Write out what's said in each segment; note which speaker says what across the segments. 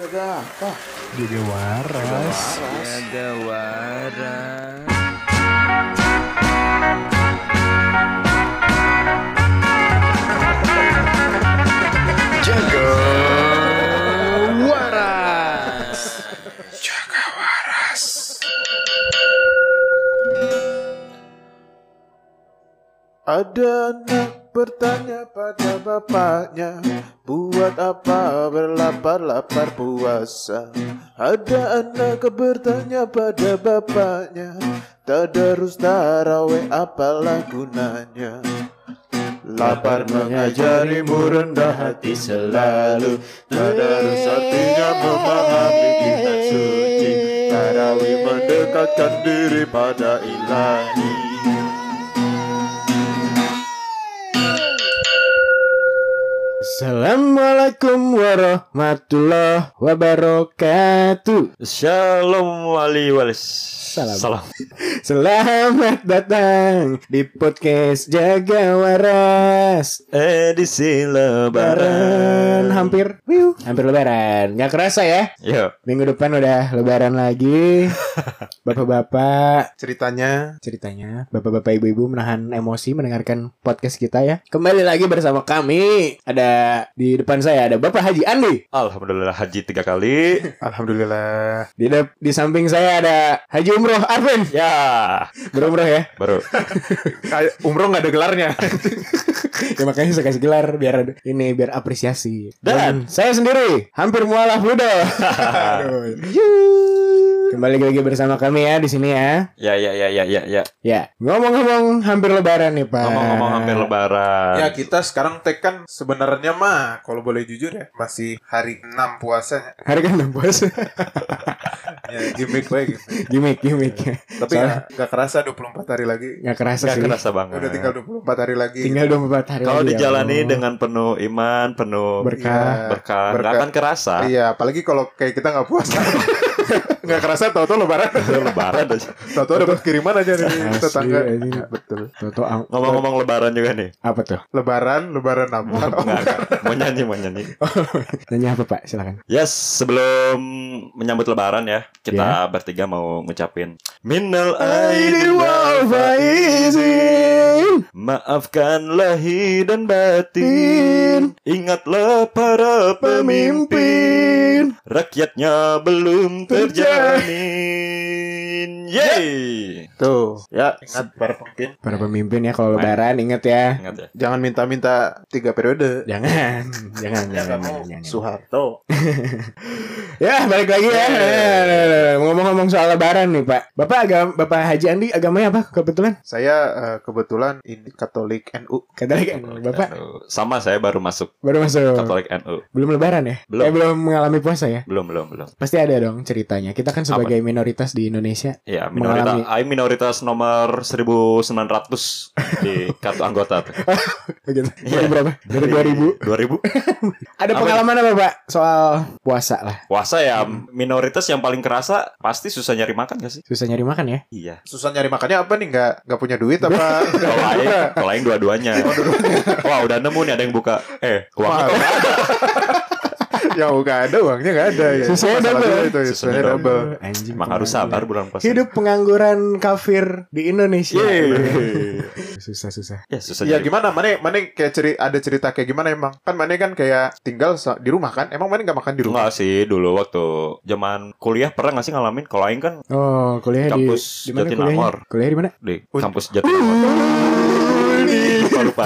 Speaker 1: Jaga apa?
Speaker 2: Jaga waras.
Speaker 3: Jaga waras.
Speaker 1: Jaga.
Speaker 3: Waras.
Speaker 1: Ada anak bertanya pada bapaknya Buat apa berlapar-lapar puasa Ada anak bertanya pada bapaknya Tadarus taraweh apalah gunanya Lapar mengajarimu rendah hati selalu Tadarus artinya memahami kitab suci Tarawih mendekatkan diri pada ilahi
Speaker 2: Assalamualaikum warahmatullahi wabarakatuh.
Speaker 3: Shalom wali walis.
Speaker 2: Salam. Selamat datang di podcast Jaga Waras.
Speaker 3: Edisi
Speaker 2: Lebaran
Speaker 3: lebaran.
Speaker 2: hampir, wiu, hampir Lebaran. Nggak kerasa ya?
Speaker 3: Yo.
Speaker 2: Minggu depan udah Lebaran lagi. Bapak-bapak,
Speaker 1: Ceritanya
Speaker 2: ceritanya bapak-bapak ibu-ibu menahan emosi mendengarkan podcast kita ya. Kembali lagi bersama kami. Ada di depan saya ada Bapak Haji Andi.
Speaker 3: Alhamdulillah haji tiga kali.
Speaker 1: Alhamdulillah
Speaker 2: Di, dep- di samping saya ada Haji Umroh Arvin.
Speaker 3: ya.
Speaker 2: Berumroh ya.
Speaker 3: Baru.
Speaker 1: Kayak umroh nggak ada gelarnya
Speaker 2: Ya makanya saya kasih gelar biar ada- ini biar apresiasi. Dan
Speaker 3: Dan-
Speaker 2: saya sendiri hampir mualaf ludo. Aduh. Kembali lagi bersama kami ya di sini ya.
Speaker 3: Ya ya ya ya ya ya.
Speaker 2: Ya, ngomong-ngomong hampir lebaran nih, Pak.
Speaker 3: Ngomong-ngomong hampir lebaran.
Speaker 1: Ya kita sekarang tag kan sebenarnya mah Kalau boleh jujur ya Masih hari 6 puasanya
Speaker 2: Hari kan enam puasa.
Speaker 1: Ya gimmick baik gimmick.
Speaker 2: gimik, gimik.
Speaker 1: Tapi ya, nggak kerasa 24 hari lagi
Speaker 2: Nggak kerasa
Speaker 3: Nggak
Speaker 2: sih.
Speaker 3: kerasa banget.
Speaker 1: Udah tinggal 24 hari lagi
Speaker 2: Tinggal 24 hari
Speaker 3: Kalau
Speaker 2: lagi, ya
Speaker 3: dijalani
Speaker 2: Allah.
Speaker 3: dengan penuh iman, penuh
Speaker 1: Iya.
Speaker 2: Berkah.
Speaker 3: berkah, nggak
Speaker 1: Berkah.
Speaker 3: akan kerasa.
Speaker 1: Iya apalagi kalau kayak kita nggak puasa Nggak kerasa tau-tau lebaran
Speaker 3: lebaran aja.
Speaker 1: Tau-tau dapat kiriman aja dari
Speaker 2: Asli,
Speaker 1: tetangga
Speaker 2: anjing.
Speaker 1: Betul
Speaker 2: Toto ang-
Speaker 3: Ngomong-ngomong lebaran juga nih.
Speaker 2: apa tuh?
Speaker 1: Lebaran, lebaran apa?
Speaker 3: Nggak, nggak. mau nyanyi, mau nyanyi.
Speaker 2: Nanya apa, Pak? Silakan.
Speaker 3: Yes, sebelum menyambut lebaran ya, kita
Speaker 2: Iya.
Speaker 3: bertiga mau ngucapin Minal aidin wal faizin Maafkan lahir dan batin Ingatlah para pemimpin Rakyatnya belum terjamin Yeay
Speaker 1: Tuh
Speaker 3: Ya,
Speaker 1: Ingat para pemimpin
Speaker 2: Para
Speaker 3: Iya.
Speaker 2: pemimpin ya kalau lebaran inget ya.
Speaker 3: ingat ya
Speaker 1: Jangan minta-minta tiga periode
Speaker 2: Jangan, jangan, jangan,
Speaker 1: Jangan mau
Speaker 2: jangan, jangan.
Speaker 1: Soeharto
Speaker 2: Ya, balik lagi
Speaker 3: Iya,
Speaker 2: ya. Ngomong-ngomong soal lebaran nih, Pak. Bapak agam, Bapak Haji Andi agamanya apa kebetulan?
Speaker 1: Saya eh, kebetulan ini Katolik NU
Speaker 2: Katolik kan, Bapak
Speaker 3: ya. Sama saya baru masuk
Speaker 2: baru masuk.
Speaker 3: Katolik NU
Speaker 2: Belum lebaran ya?
Speaker 3: Belum.
Speaker 2: Eh, belum mengalami puasa ya?
Speaker 3: Belum, belum, belum
Speaker 2: Pasti ada dong ceritanya. Kita kan sebagai minoritas di Indonesia.
Speaker 3: Ya, minoritas,
Speaker 2: Mengalami.
Speaker 3: I minoritas nomor 1900 di kartu anggota tuh.
Speaker 2: Begitu.
Speaker 3: Iya.
Speaker 2: Dari berapa? Dari 2000.
Speaker 3: 2000.
Speaker 2: Ada
Speaker 3: Apa?
Speaker 2: pengalaman apa, Pak? Soal puasa lah.
Speaker 3: Puasa ya, minoritas yang paling kerasa pasti susah nyari makan gak sih?
Speaker 2: Susah nyari makan ya?
Speaker 3: Iya.
Speaker 1: susah nyari makannya apa nih nggak nggak punya duit apa
Speaker 3: Kalau lain, kalau lain dua-duanya. Wah, udah nemu nih ada yang buka. Eh, uangnya kok nggak ada?
Speaker 1: ya nggak ada uangnya nggak ada ya
Speaker 2: Susahnya
Speaker 1: Masalah
Speaker 2: double.
Speaker 1: dulu itu ya,
Speaker 3: Susahnya
Speaker 1: susahnya double
Speaker 2: Aduh, Anjing.
Speaker 3: Emang harus
Speaker 2: pengangguran.
Speaker 3: sabar bulan puasa.
Speaker 2: Gitu kan. Hidup pengangguran kafir di Indonesia.
Speaker 3: Yeay.
Speaker 2: Susah-susah.
Speaker 3: Ya, susah
Speaker 1: Ya
Speaker 3: nyari.
Speaker 1: gimana, mana mana kayak ceri ada cerita kayak gimana emang? Kan mana kan kayak tinggal sa- di rumah kan? Emang mana nggak makan di rumah?
Speaker 3: Enggak sih, dulu waktu zaman kuliah pernah gak sih ngalamin? Kalau lain kan
Speaker 2: Oh, kuliah di di
Speaker 3: Kampus
Speaker 2: mana
Speaker 3: Jatinangor.
Speaker 2: kuliahnya? Kuliah di mana?
Speaker 3: di kampus Jatinangor. Lupa, lupa.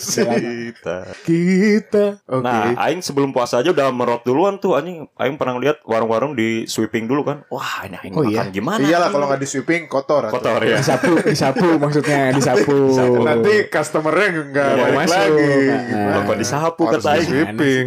Speaker 3: Cerita.
Speaker 2: Kita. Oh, gitu.
Speaker 1: Oke.
Speaker 3: Nah, aing sebelum puasa aja udah merot duluan tuh anjing. Aing pernah lihat warung-warung di sweeping dulu kan. Wah, ini aing
Speaker 2: Oh,
Speaker 3: makan
Speaker 2: iya?
Speaker 3: gimana?
Speaker 1: Iyalah
Speaker 3: anjing?
Speaker 1: kalau nggak di sweeping kotor. atau-
Speaker 3: kotor ya.
Speaker 2: Disapu, disapu maksudnya disapu.
Speaker 3: Disapu.
Speaker 1: Nanti customernya nggak
Speaker 3: Iya,
Speaker 1: balik
Speaker 2: masuk.
Speaker 1: lagi.
Speaker 2: Nah,
Speaker 1: Gimana?
Speaker 3: Kok disapu,
Speaker 1: Harus
Speaker 3: kata
Speaker 1: di
Speaker 3: Aing.
Speaker 1: sweeping.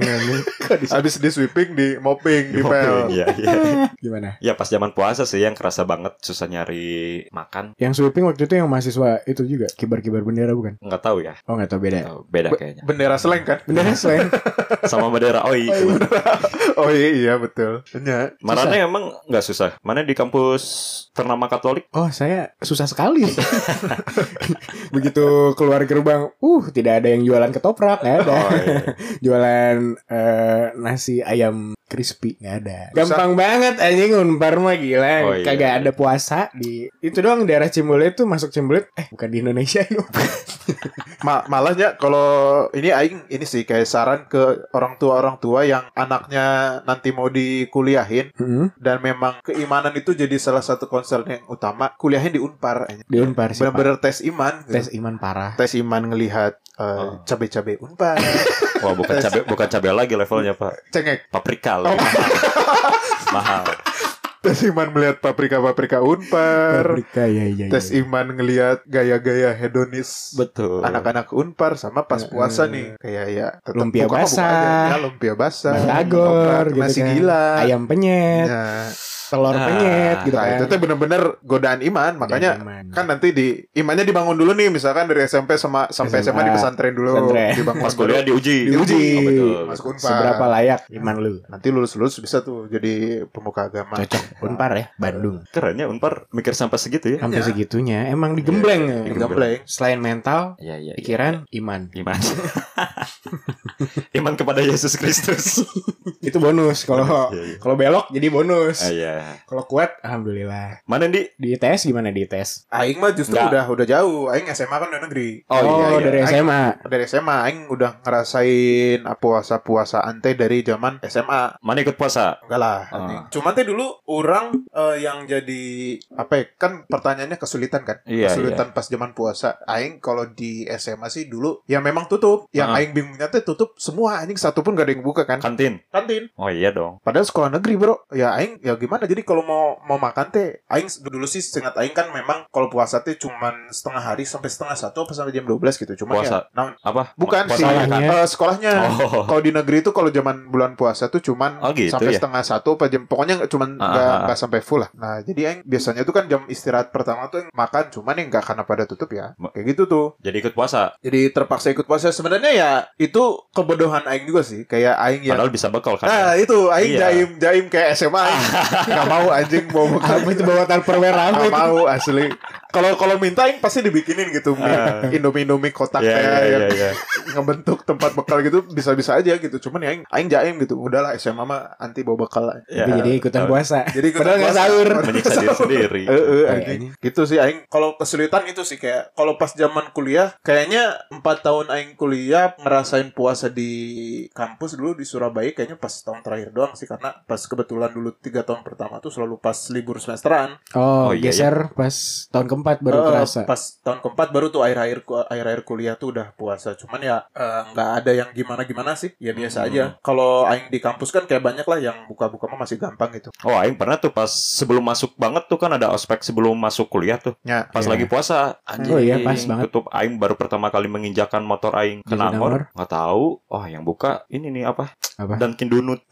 Speaker 1: Habis di sweeping di mopping di pel.
Speaker 3: Iya, iya.
Speaker 2: Gimana?
Speaker 3: Ya pas zaman puasa sih yang kerasa banget susah nyari makan.
Speaker 2: Yang sweeping waktu itu yang mahasiswa itu juga kibar-kibar bendera bukan?
Speaker 3: Nggak tahu ya.
Speaker 2: Oh nggak tahu
Speaker 1: Iya.
Speaker 2: beda. Nah,
Speaker 3: Nggak tahu, Beda kayaknya.
Speaker 1: Bendera seleng kan?
Speaker 2: Bendera selain
Speaker 3: Sama bendera OI.
Speaker 1: iya. Oh iya, iya betul. Ya.
Speaker 3: Marane emang nggak susah. Mana di kampus ternama Katolik?
Speaker 2: Oh saya susah sekali Begitu keluar gerbang Uh tidak ada yang jualan ketoprak nggak ada
Speaker 3: Oh, iya.
Speaker 2: Jualan eh, nasi ayam crispy nggak ada. Gampang banget anjing unpar mah gila.
Speaker 3: Oh, iya.
Speaker 2: Kagak ada puasa di itu doang daerah Cimbulit tuh masuk Cimbulit eh bukan di Indonesia itu.
Speaker 1: Ma malahnya kalau ini aing ini sih kayak saran ke orang tua orang tua yang anaknya nanti mau dikuliahin
Speaker 2: Heeh.
Speaker 1: dan memang keimanan itu jadi salah satu concern yang utama kuliahin di Unpar
Speaker 2: di unpar sih. Pak.
Speaker 1: bener-bener tes iman gitu.
Speaker 2: Tes iman parah.
Speaker 1: tes iman ngelihat uh,
Speaker 3: Oh.
Speaker 1: cabe-cabe Unpar
Speaker 3: Wah bukan cabe bukan cabe lagi levelnya pak.
Speaker 1: cengek
Speaker 3: Paprika lebih mahal.
Speaker 1: tes iman melihat paprika-paprika Unpar
Speaker 2: Paprika ya ya. ya.
Speaker 1: tes iman ngelihat gaya-gaya hedonis
Speaker 3: Betul.
Speaker 1: anak-anak unpar sama pas
Speaker 2: Heeh.
Speaker 1: puasa nih kayak ya tetep
Speaker 2: Lumpia
Speaker 1: buka mah buka
Speaker 2: basah.
Speaker 1: aja. ya, lumpia basah
Speaker 2: batagor
Speaker 1: Oprak,
Speaker 2: gitu
Speaker 1: nasi
Speaker 2: kan.
Speaker 1: gila
Speaker 2: Ayam penyet,
Speaker 1: Nah,
Speaker 2: telur
Speaker 3: Ah,
Speaker 2: penyet gitu
Speaker 1: nah,
Speaker 2: kan. Iya,
Speaker 1: itu tuh bener-bener godaan iman makanya
Speaker 2: Dan iman.
Speaker 1: kan nanti di imannya dibangun dulu nih misalkan dari SMP sama sampai SMA,
Speaker 2: SMA.
Speaker 1: di pesantren dulu
Speaker 2: Pesantren.
Speaker 1: dibangun
Speaker 3: Pas kuliah diuji.
Speaker 2: diuji.
Speaker 3: Oh, betul.
Speaker 1: masuk unpar
Speaker 2: Seberapa layak iman lu?
Speaker 1: nanti lulus-lulus bisa tuh jadi pemuka agama Nah,
Speaker 2: Cocok Unpar ya Bandung.
Speaker 3: Kerennya Unpar mikir sampai segitu ya.
Speaker 2: Sampai segitunya emang digembleng. ya.
Speaker 1: Digembleng.
Speaker 2: Selain mental,
Speaker 3: Iya iya.
Speaker 2: pikiran, iman.
Speaker 3: Iman. Iman kepada Yesus Kristus.
Speaker 2: Itu bonus kalau
Speaker 3: Iya, iya.
Speaker 2: kalau belok jadi bonus.
Speaker 3: Ah, Iya.
Speaker 2: Kalau kuat alhamdulillah.
Speaker 3: Mana di?
Speaker 2: Di ITS gimana di ITS?
Speaker 1: Aing mah justru
Speaker 3: Nggak.
Speaker 1: udah udah jauh Aing SMA kan udah negeri
Speaker 3: Oh, iya, iya.
Speaker 2: dari
Speaker 1: Aing-
Speaker 2: SMA.
Speaker 1: dari SMA Aing udah ngerasain puasa-puasa ante dari zaman SMA
Speaker 3: Mana ikut puasa?
Speaker 1: Enggak lah.
Speaker 3: Ah.
Speaker 1: Nanti. Cuman teh dulu orang eh, yang jadi apa ya? Kan pertanyaannya kesulitan kan?
Speaker 3: Iya,
Speaker 1: kesulitan pas zaman puasa. Aing kalau di SMA sih dulu ya memang tutup. Yang
Speaker 3: Ah.
Speaker 1: aing bingungnya teh tutup semua anjing satu pun gak ada yang buka kan?
Speaker 3: Kantin.
Speaker 1: Kantin.
Speaker 3: Oh iya dong.
Speaker 1: Padahal sekolah negeri, Bro. Ya aing ya gimana jadi kalau mau mau makan teh aing s- dulu sih seingat aing kan memang kalau puasa teh cuman setengah hari sampai setengah satu apa sampai jam 12 gitu. Cuman
Speaker 3: Puasa.
Speaker 1: ya naon-
Speaker 3: Apa?
Speaker 1: bukan sih
Speaker 3: puasa makan.
Speaker 1: eh, sekolahnya.
Speaker 3: Oh.
Speaker 1: Kalau di negeri itu kalau zaman bulan puasa tuh cuman
Speaker 3: Oh, gitu
Speaker 1: sampai
Speaker 3: ya?
Speaker 1: setengah satu apa jam pokoknya nggak- cuman
Speaker 3: Ah,
Speaker 1: nggak
Speaker 3: ah, ah.
Speaker 1: nggak sampai full lah. Nah jadi yang biasanya tuh kan jam istirahat pertama tuh yang makan cuman yang nggak karena pada tutup ya
Speaker 3: Ma-
Speaker 1: kayak gitu tuh.
Speaker 3: Jadi ikut puasa.
Speaker 1: Jadi terpaksa ikut puasa sebenarnya ya itu kebodohan aing juga sih kayak aing yang
Speaker 3: Padahal bisa bekal
Speaker 1: Nah
Speaker 3: kan.
Speaker 1: itu aing
Speaker 3: Iya. Ah.
Speaker 1: jaim jaim kayak SMA aing. nggak mau anjing mau buka
Speaker 2: Apa itu bawa tupperware apa
Speaker 1: nggak
Speaker 2: itu?
Speaker 1: mau asli kalau kalau minta aing pasti dibikinin gitu
Speaker 3: Ah.
Speaker 1: indomie indomie kotak
Speaker 3: Iya
Speaker 1: kayak
Speaker 3: iya
Speaker 1: yang-
Speaker 3: iya. iya.
Speaker 1: ngebentuk tempat bekal gitu bisa-bisa aja gitu cuman ya aing aing jaim gitu udahlah SMA mah anti bawa bekal
Speaker 3: Iya.
Speaker 2: Tapi jadi ikutan puasa.
Speaker 1: jadi ikutan
Speaker 2: Padahal nggak
Speaker 1: puasa.
Speaker 2: sahur. Iya,
Speaker 1: Padahal
Speaker 3: Menyiksa diri
Speaker 1: sahur.
Speaker 3: sendiri.
Speaker 1: Eh, eh,
Speaker 2: Kayaknya.
Speaker 1: anjing. gitu sih aing kalau kesulitan itu sih kayak kalau pas zaman kuliah kayaknya empat tahun aing kuliah ngerasain puasa di kampus dulu di Surabaya kayaknya pas tahun terakhir doang sih karena pas kebetulan dulu tiga tahun pertama tuh selalu pas libur semesteran
Speaker 2: Oh,
Speaker 3: Oh, iya, Oh,
Speaker 2: geser pas tahun keempat baru
Speaker 1: Eh,
Speaker 2: kerasa.
Speaker 1: Pas tahun keempat baru tuh akhir-akhir ku- akhir-akhir kuliah tuh udah puasa. Cuman ya eh, nggak ada yang gimana-gimana sih. Ya biasa
Speaker 3: Hmm.
Speaker 1: aja. Kalau aing di kampus kan kayak banyak lah yang buka-buka mah masih gampang gitu.
Speaker 3: Oh, aing pernah tuh pas sebelum masuk banget tuh kan ada ospek sebelum masuk kuliah tuh.
Speaker 1: Ya.
Speaker 3: Pas
Speaker 2: Iya.
Speaker 3: lagi puasa, anjing.
Speaker 2: Oh iya, pas banget.
Speaker 3: Tutup aing baru pertama kali menginjakan motor aing ke
Speaker 2: Di Nangor.
Speaker 3: Nangor, nggak tahu. Wah, yang buka ini nih apa?
Speaker 2: Apa? Oh, iya.
Speaker 3: Dan kindunut.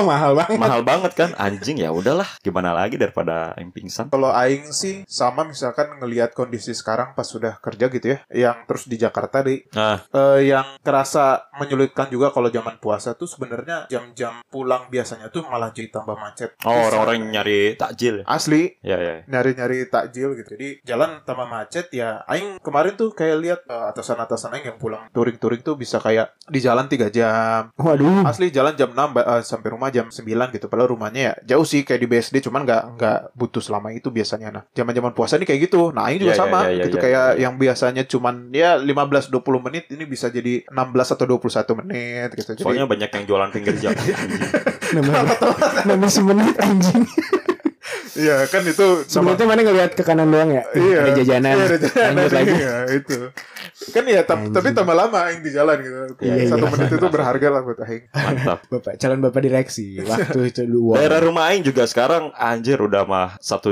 Speaker 2: Mahal banget.
Speaker 3: Mahal banget kan anjing ya udahlah, gimana lagi daripada aing pingsan.
Speaker 1: Kalau aing sih sama misalkan ngelihat kondisi sekarang pas sudah kerja gitu ya, yang terus di Jakarta deh,
Speaker 3: Nah,
Speaker 1: eh, yang kerasa menyulitkan juga kalau zaman puasa tuh sebenarnya jam-jam pulang biasanya tuh malah jadi tambah macet.
Speaker 3: oh orang-orang yang nyari takjil.
Speaker 1: asli
Speaker 3: Ya ya.
Speaker 1: nyari-nyari takjil gitu. Jadi jalan tambah macet ya. Aing kemarin tuh kayak lihat eh, atasan-atasan aing yang pulang touring-touring tuh bisa kayak di jalan 3 jam.
Speaker 2: Waduh.
Speaker 1: Asli jalan jam 6 ba- eh, sampai rumah jam 9 gitu. Padahal rumahnya ya jauh sih kayak di BSD cuman nggak nggak butuh selama itu biasanya. Nah, zaman-zaman puasa nih kayak gitu. Nah, aing juga
Speaker 3: Iya, iya,
Speaker 1: sama.
Speaker 3: iya, iya,
Speaker 1: gitu
Speaker 3: iya.
Speaker 1: kayak yang biasanya cuman ya 15 20 menit ini bisa jadi 16 atau 21 menit gitu. Jadi
Speaker 3: Soalnya banyak yang jualan pinggir jalan. Anjing.
Speaker 2: Nambah nambah semenit anjing.
Speaker 1: iya kan itu sama-
Speaker 2: Semenitnya mana ngelihat ke kanan doang ya? Ada jajanan.
Speaker 1: Iya, ada jajanan.
Speaker 2: Lanjut lagi.
Speaker 1: Iya, itu. Kan ya, tap-
Speaker 2: Anjing.
Speaker 1: tapi tambah lama aing di jalan gitu.
Speaker 2: Iya, iya.
Speaker 1: Satu menit itu berharga lah buat aing.
Speaker 3: Mantap.
Speaker 2: Bapak calon bapak direksi waktu itu dua.
Speaker 3: Daerah rumah Aing juga sekarang anjir udah mah satu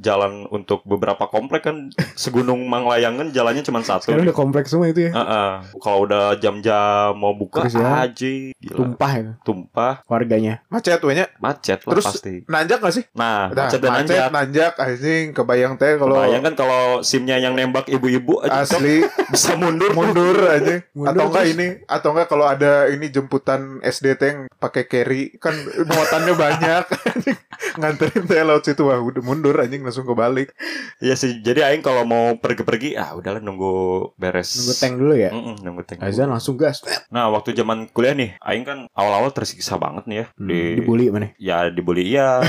Speaker 3: jalan untuk beberapa komplek kan segunung manglayangan jalannya cuma satu.
Speaker 2: Sekarang udah kompleks semua itu ya.
Speaker 3: Heeh. Kalau udah jam-jam mau buka
Speaker 2: Terus ya?
Speaker 3: anjing, gila.
Speaker 2: Tumpah itu
Speaker 3: tumpah
Speaker 2: warganya.
Speaker 1: Macet wenya.
Speaker 3: macet lah
Speaker 1: Terus-
Speaker 3: pasti.
Speaker 1: Nanjak gak sih?
Speaker 3: Nah,
Speaker 1: Nah,
Speaker 3: macet dan
Speaker 1: macet,
Speaker 3: anjak.
Speaker 1: nanjak, anjing. Kebayang teh kalau
Speaker 3: Bayangkan kalau simnya yang nembak ibu-ibu aja cok,
Speaker 1: asli
Speaker 3: bisa mundur.
Speaker 1: mundur anjing.
Speaker 2: Mundur
Speaker 1: atau enggak
Speaker 2: terus.
Speaker 1: ini, atau enggak kalau ada ini jemputan SDT yang pakai carry kan muatannya banyak. anjing. nganterin teh laut situ wah udah mundur anjing langsung kebalik
Speaker 3: Iya sih. Jadi aing kalau mau pergi-pergi ah udahlah nunggu beres.
Speaker 2: Nunggu tank dulu ya.
Speaker 3: Mm-mm, nunggu tank.
Speaker 2: Azan langsung gas.
Speaker 3: Nah, waktu zaman kuliah nih, aing kan awal-awal tersiksa banget nih ya
Speaker 2: Hmm,
Speaker 3: di
Speaker 2: Dibully mana?
Speaker 3: ya dibully iya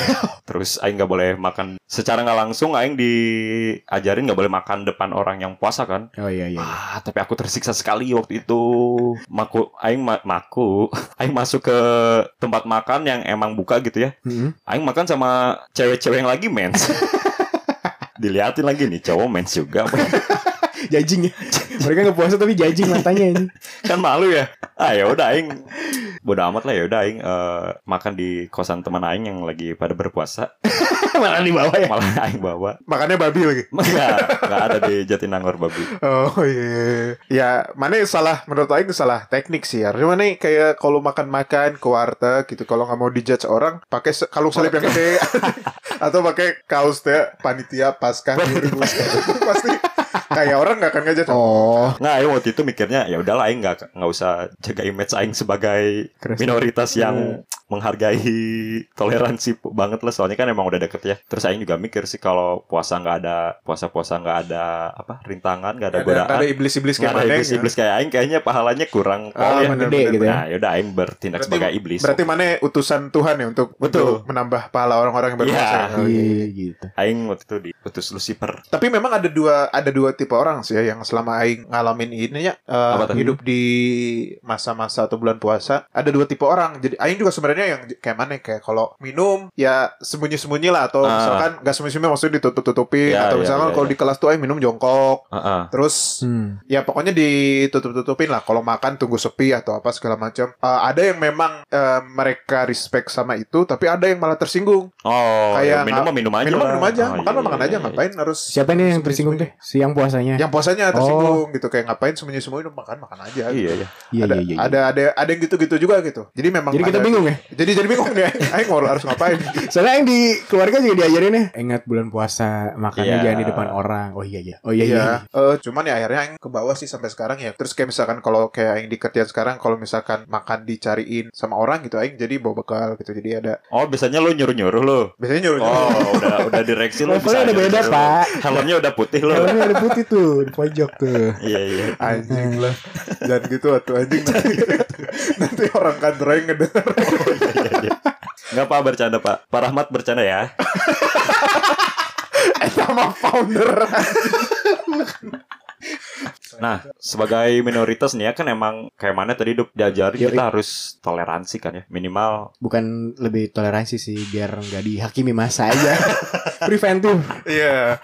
Speaker 3: terus aing nggak boleh makan secara nggak langsung aing diajarin nggak boleh makan depan orang yang puasa kan
Speaker 2: Oh iya iya.
Speaker 3: ah tapi aku tersiksa sekali waktu itu maku aing ma- maku aing masuk ke tempat makan yang emang buka gitu ya
Speaker 2: Mm-mm.
Speaker 3: aing makan sama cewek-cewek yang lagi mens diliatin lagi nih cowok mens juga
Speaker 2: Jajing ya. Mereka nggak puasa tapi jajing matanya ini.
Speaker 3: kan malu ya ah ya udah aing bodo amat lah ya udah aing eh, makan di kosan teman aing yang lagi pada berpuasa
Speaker 2: Malah dibawa ya.
Speaker 3: malah aing bawa
Speaker 1: makannya babi lagi
Speaker 3: Enggak, enggak ada di Jatinangor babi.
Speaker 1: oh iya ya mana salah menurut Aing salah teknik sih ya mana kayak kalau makan-makan ke warteg gitu kalau nggak mau dijudge orang pakai se- kalung salib yang gede atau pakai kaos teh panitia pasca pasti kayak orang nggak akan ngejudge
Speaker 2: Oh,
Speaker 3: Nah, aing waktu itu mikirnya ya udahlah aing enggak enggak usah jaga image aing sebagai
Speaker 2: keras.
Speaker 3: minoritas
Speaker 1: Iya.
Speaker 3: yang menghargai toleransi p- banget lah soalnya kan emang udah deket ya. Terus aing juga mikir sih kalau puasa nggak ada puasa-puasa nggak ada apa rintangan, nggak ada
Speaker 1: Nggak
Speaker 3: godaan.
Speaker 1: nggak ada iblis-iblis
Speaker 3: Nggak
Speaker 1: kayak gitu.
Speaker 3: ada
Speaker 1: mana
Speaker 3: iblis, iblis kayak aing kayaknya pahalanya kurang
Speaker 1: Ah,
Speaker 3: pol ya.
Speaker 2: bener. gede gitu ya.
Speaker 3: Nah, ya udah aing bertindak
Speaker 1: Berarti-
Speaker 3: sebagai iblis.
Speaker 1: Berarti mana utusan Tuhan ya untuk,
Speaker 3: Betul.
Speaker 1: untuk menambah pahala orang-orang yang berpuasa.
Speaker 3: Iya.
Speaker 1: ya? Oh, iya.
Speaker 2: Iya gitu.
Speaker 3: aing waktu itu diutus Lucifer.
Speaker 1: Tapi memang ada dua ada dua tipe orang sih ya yang selama aing ngalamin ini ya eh,
Speaker 3: Apa tuh?
Speaker 1: hidup di masa-masa atau bulan puasa ada dua tipe orang. Jadi aing juga sebenarnya yang j- kayak mana ya? kayak kalau minum ya sembunyi-sembunyi lah atau
Speaker 3: Ah.
Speaker 1: misalkan nggak sembunyi-sembunyi maksudnya ditutup-tutupin
Speaker 3: Ya,
Speaker 1: atau
Speaker 3: ya,
Speaker 1: misalkan
Speaker 3: ya,
Speaker 1: kalau
Speaker 3: ya.
Speaker 1: di kelas tuh aing minum jongkok
Speaker 3: Heeh.
Speaker 1: terus
Speaker 2: Hmm.
Speaker 1: ya pokoknya ditutup-tutupin lah kalau makan tunggu sepi atau apa segala macam Eh, ada yang memang eh, mereka respect sama itu tapi ada yang malah tersinggung
Speaker 3: Oh,
Speaker 1: Kayak
Speaker 3: ya minum mah minum aja.
Speaker 1: minum
Speaker 3: lah.
Speaker 1: minum aja
Speaker 3: Oh,
Speaker 1: makan
Speaker 3: iya,
Speaker 1: mah makan
Speaker 3: iya,
Speaker 1: aja
Speaker 3: iya.
Speaker 1: ngapain harus
Speaker 2: Siapa nih yang tersinggung deh? Siang puasanya.
Speaker 1: yang puasanya tersinggung gitu kayak ngapain sembunyi sembunyi makan makan aja
Speaker 3: Iya, iya.
Speaker 2: Oh. Iya
Speaker 1: ada,
Speaker 2: iya iya.
Speaker 1: ada ada ada yang gitu gitu juga gitu jadi memang
Speaker 2: Jadi kita
Speaker 1: ada-
Speaker 2: bingung ya.
Speaker 1: jadi jadi bingung nih ayo ngor- harus ngapain
Speaker 2: Soalnya yang di keluarga juga diajarin ya. Ingat bulan puasa, makannya
Speaker 3: Iya.
Speaker 2: jangan di depan orang. Oh iya iya. Oh iya iya.
Speaker 1: Iya, Eh, cuman ya akhirnya yang ke bawah sih sampai sekarang ya. Terus kayak misalkan kalau kayak yang di kerjaan sekarang, kalau misalkan makan dicariin sama orang gitu, aing jadi bawa bekal gitu. Jadi ada
Speaker 3: Oh, biasanya lu nyuruh-nyuruh lu.
Speaker 1: biasanya nyuruh
Speaker 3: Oh, udah udah direksi lu
Speaker 2: Levelnya
Speaker 3: bisa
Speaker 2: udah beda,
Speaker 3: nyuruh-nyuruh.
Speaker 2: Pak.
Speaker 3: Helmnya udah putih lu.
Speaker 2: Helmnya ada putih tuh di pojok tuh.
Speaker 3: Iya, iya.
Speaker 1: anjing lah, jangan gitu atuh anjing nanti, nanti orang kantor aing ngedenger.
Speaker 3: Enggak apa bercanda, Pak. Pak Rahmat bercanda ya.
Speaker 1: sama founder.
Speaker 3: Nah, sebagai minoritas nih ya kan emang kayak mana tadi Dup diajarin
Speaker 2: Yoi.
Speaker 3: kita harus toleransi kan ya. Minimal
Speaker 2: Bukan lebih toleransi sih biar nggak dihakimi masa aja. Preventif.
Speaker 1: Iya,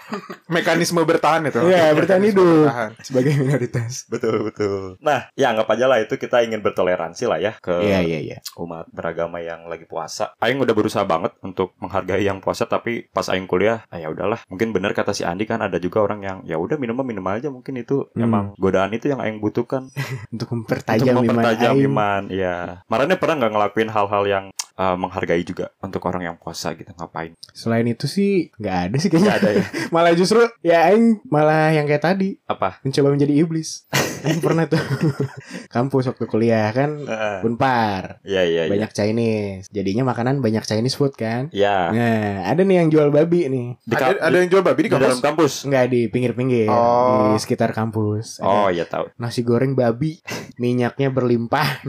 Speaker 1: mekanisme bertahan itu.
Speaker 2: Iya, bertahan
Speaker 1: Mekanisme
Speaker 2: hidup.
Speaker 1: bertahan.
Speaker 2: sebagai minoritas.
Speaker 3: betul betul. Nah, ya anggap aja lah itu kita ingin bertoleransi lah ya ke
Speaker 2: Iya iya iya.
Speaker 3: umat beragama yang lagi puasa. Aing udah berusaha banget untuk menghargai yang puasa tapi pas aing kuliah, ah ya udahlah. Mungkin benar kata si Andi kan ada juga orang yang ya udah minum mah minum aja mungkin itu
Speaker 2: Hmm.
Speaker 3: emang godaan itu yang aing butuhkan.
Speaker 2: Untuk mempertajam
Speaker 3: untuk mempertajam
Speaker 2: aing.
Speaker 3: iman, ya. Marane pernah nggak ngelakuin hal-hal yang eh, menghargai juga untuk orang yang puasa gitu ngapain?
Speaker 2: Selain itu sih nggak Iya, ada sih kayaknya.
Speaker 3: Nggak ada ya.
Speaker 2: malah justru ya aing malah yang kayak tadi
Speaker 3: Apa?
Speaker 2: mencoba menjadi iblis. aing pernah tuh kampus waktu kuliah kan Unpar,
Speaker 3: Iya iya iya.
Speaker 2: banyak Chinese. Jadinya makanan banyak Chinese food kan.
Speaker 3: Ya.
Speaker 2: Nah, ada nih yang jual babi nih.
Speaker 3: Di,
Speaker 1: ada,
Speaker 3: kap-
Speaker 1: ada yang jual babi
Speaker 3: di
Speaker 1: di kampus?
Speaker 3: dalam kampus.
Speaker 2: Enggak di pinggir-pinggir,
Speaker 1: Oh.
Speaker 2: di sekitar kampus.
Speaker 3: Oh
Speaker 2: Ada
Speaker 3: ya tahu,
Speaker 2: nasi goreng babi, minyaknya berlimpah.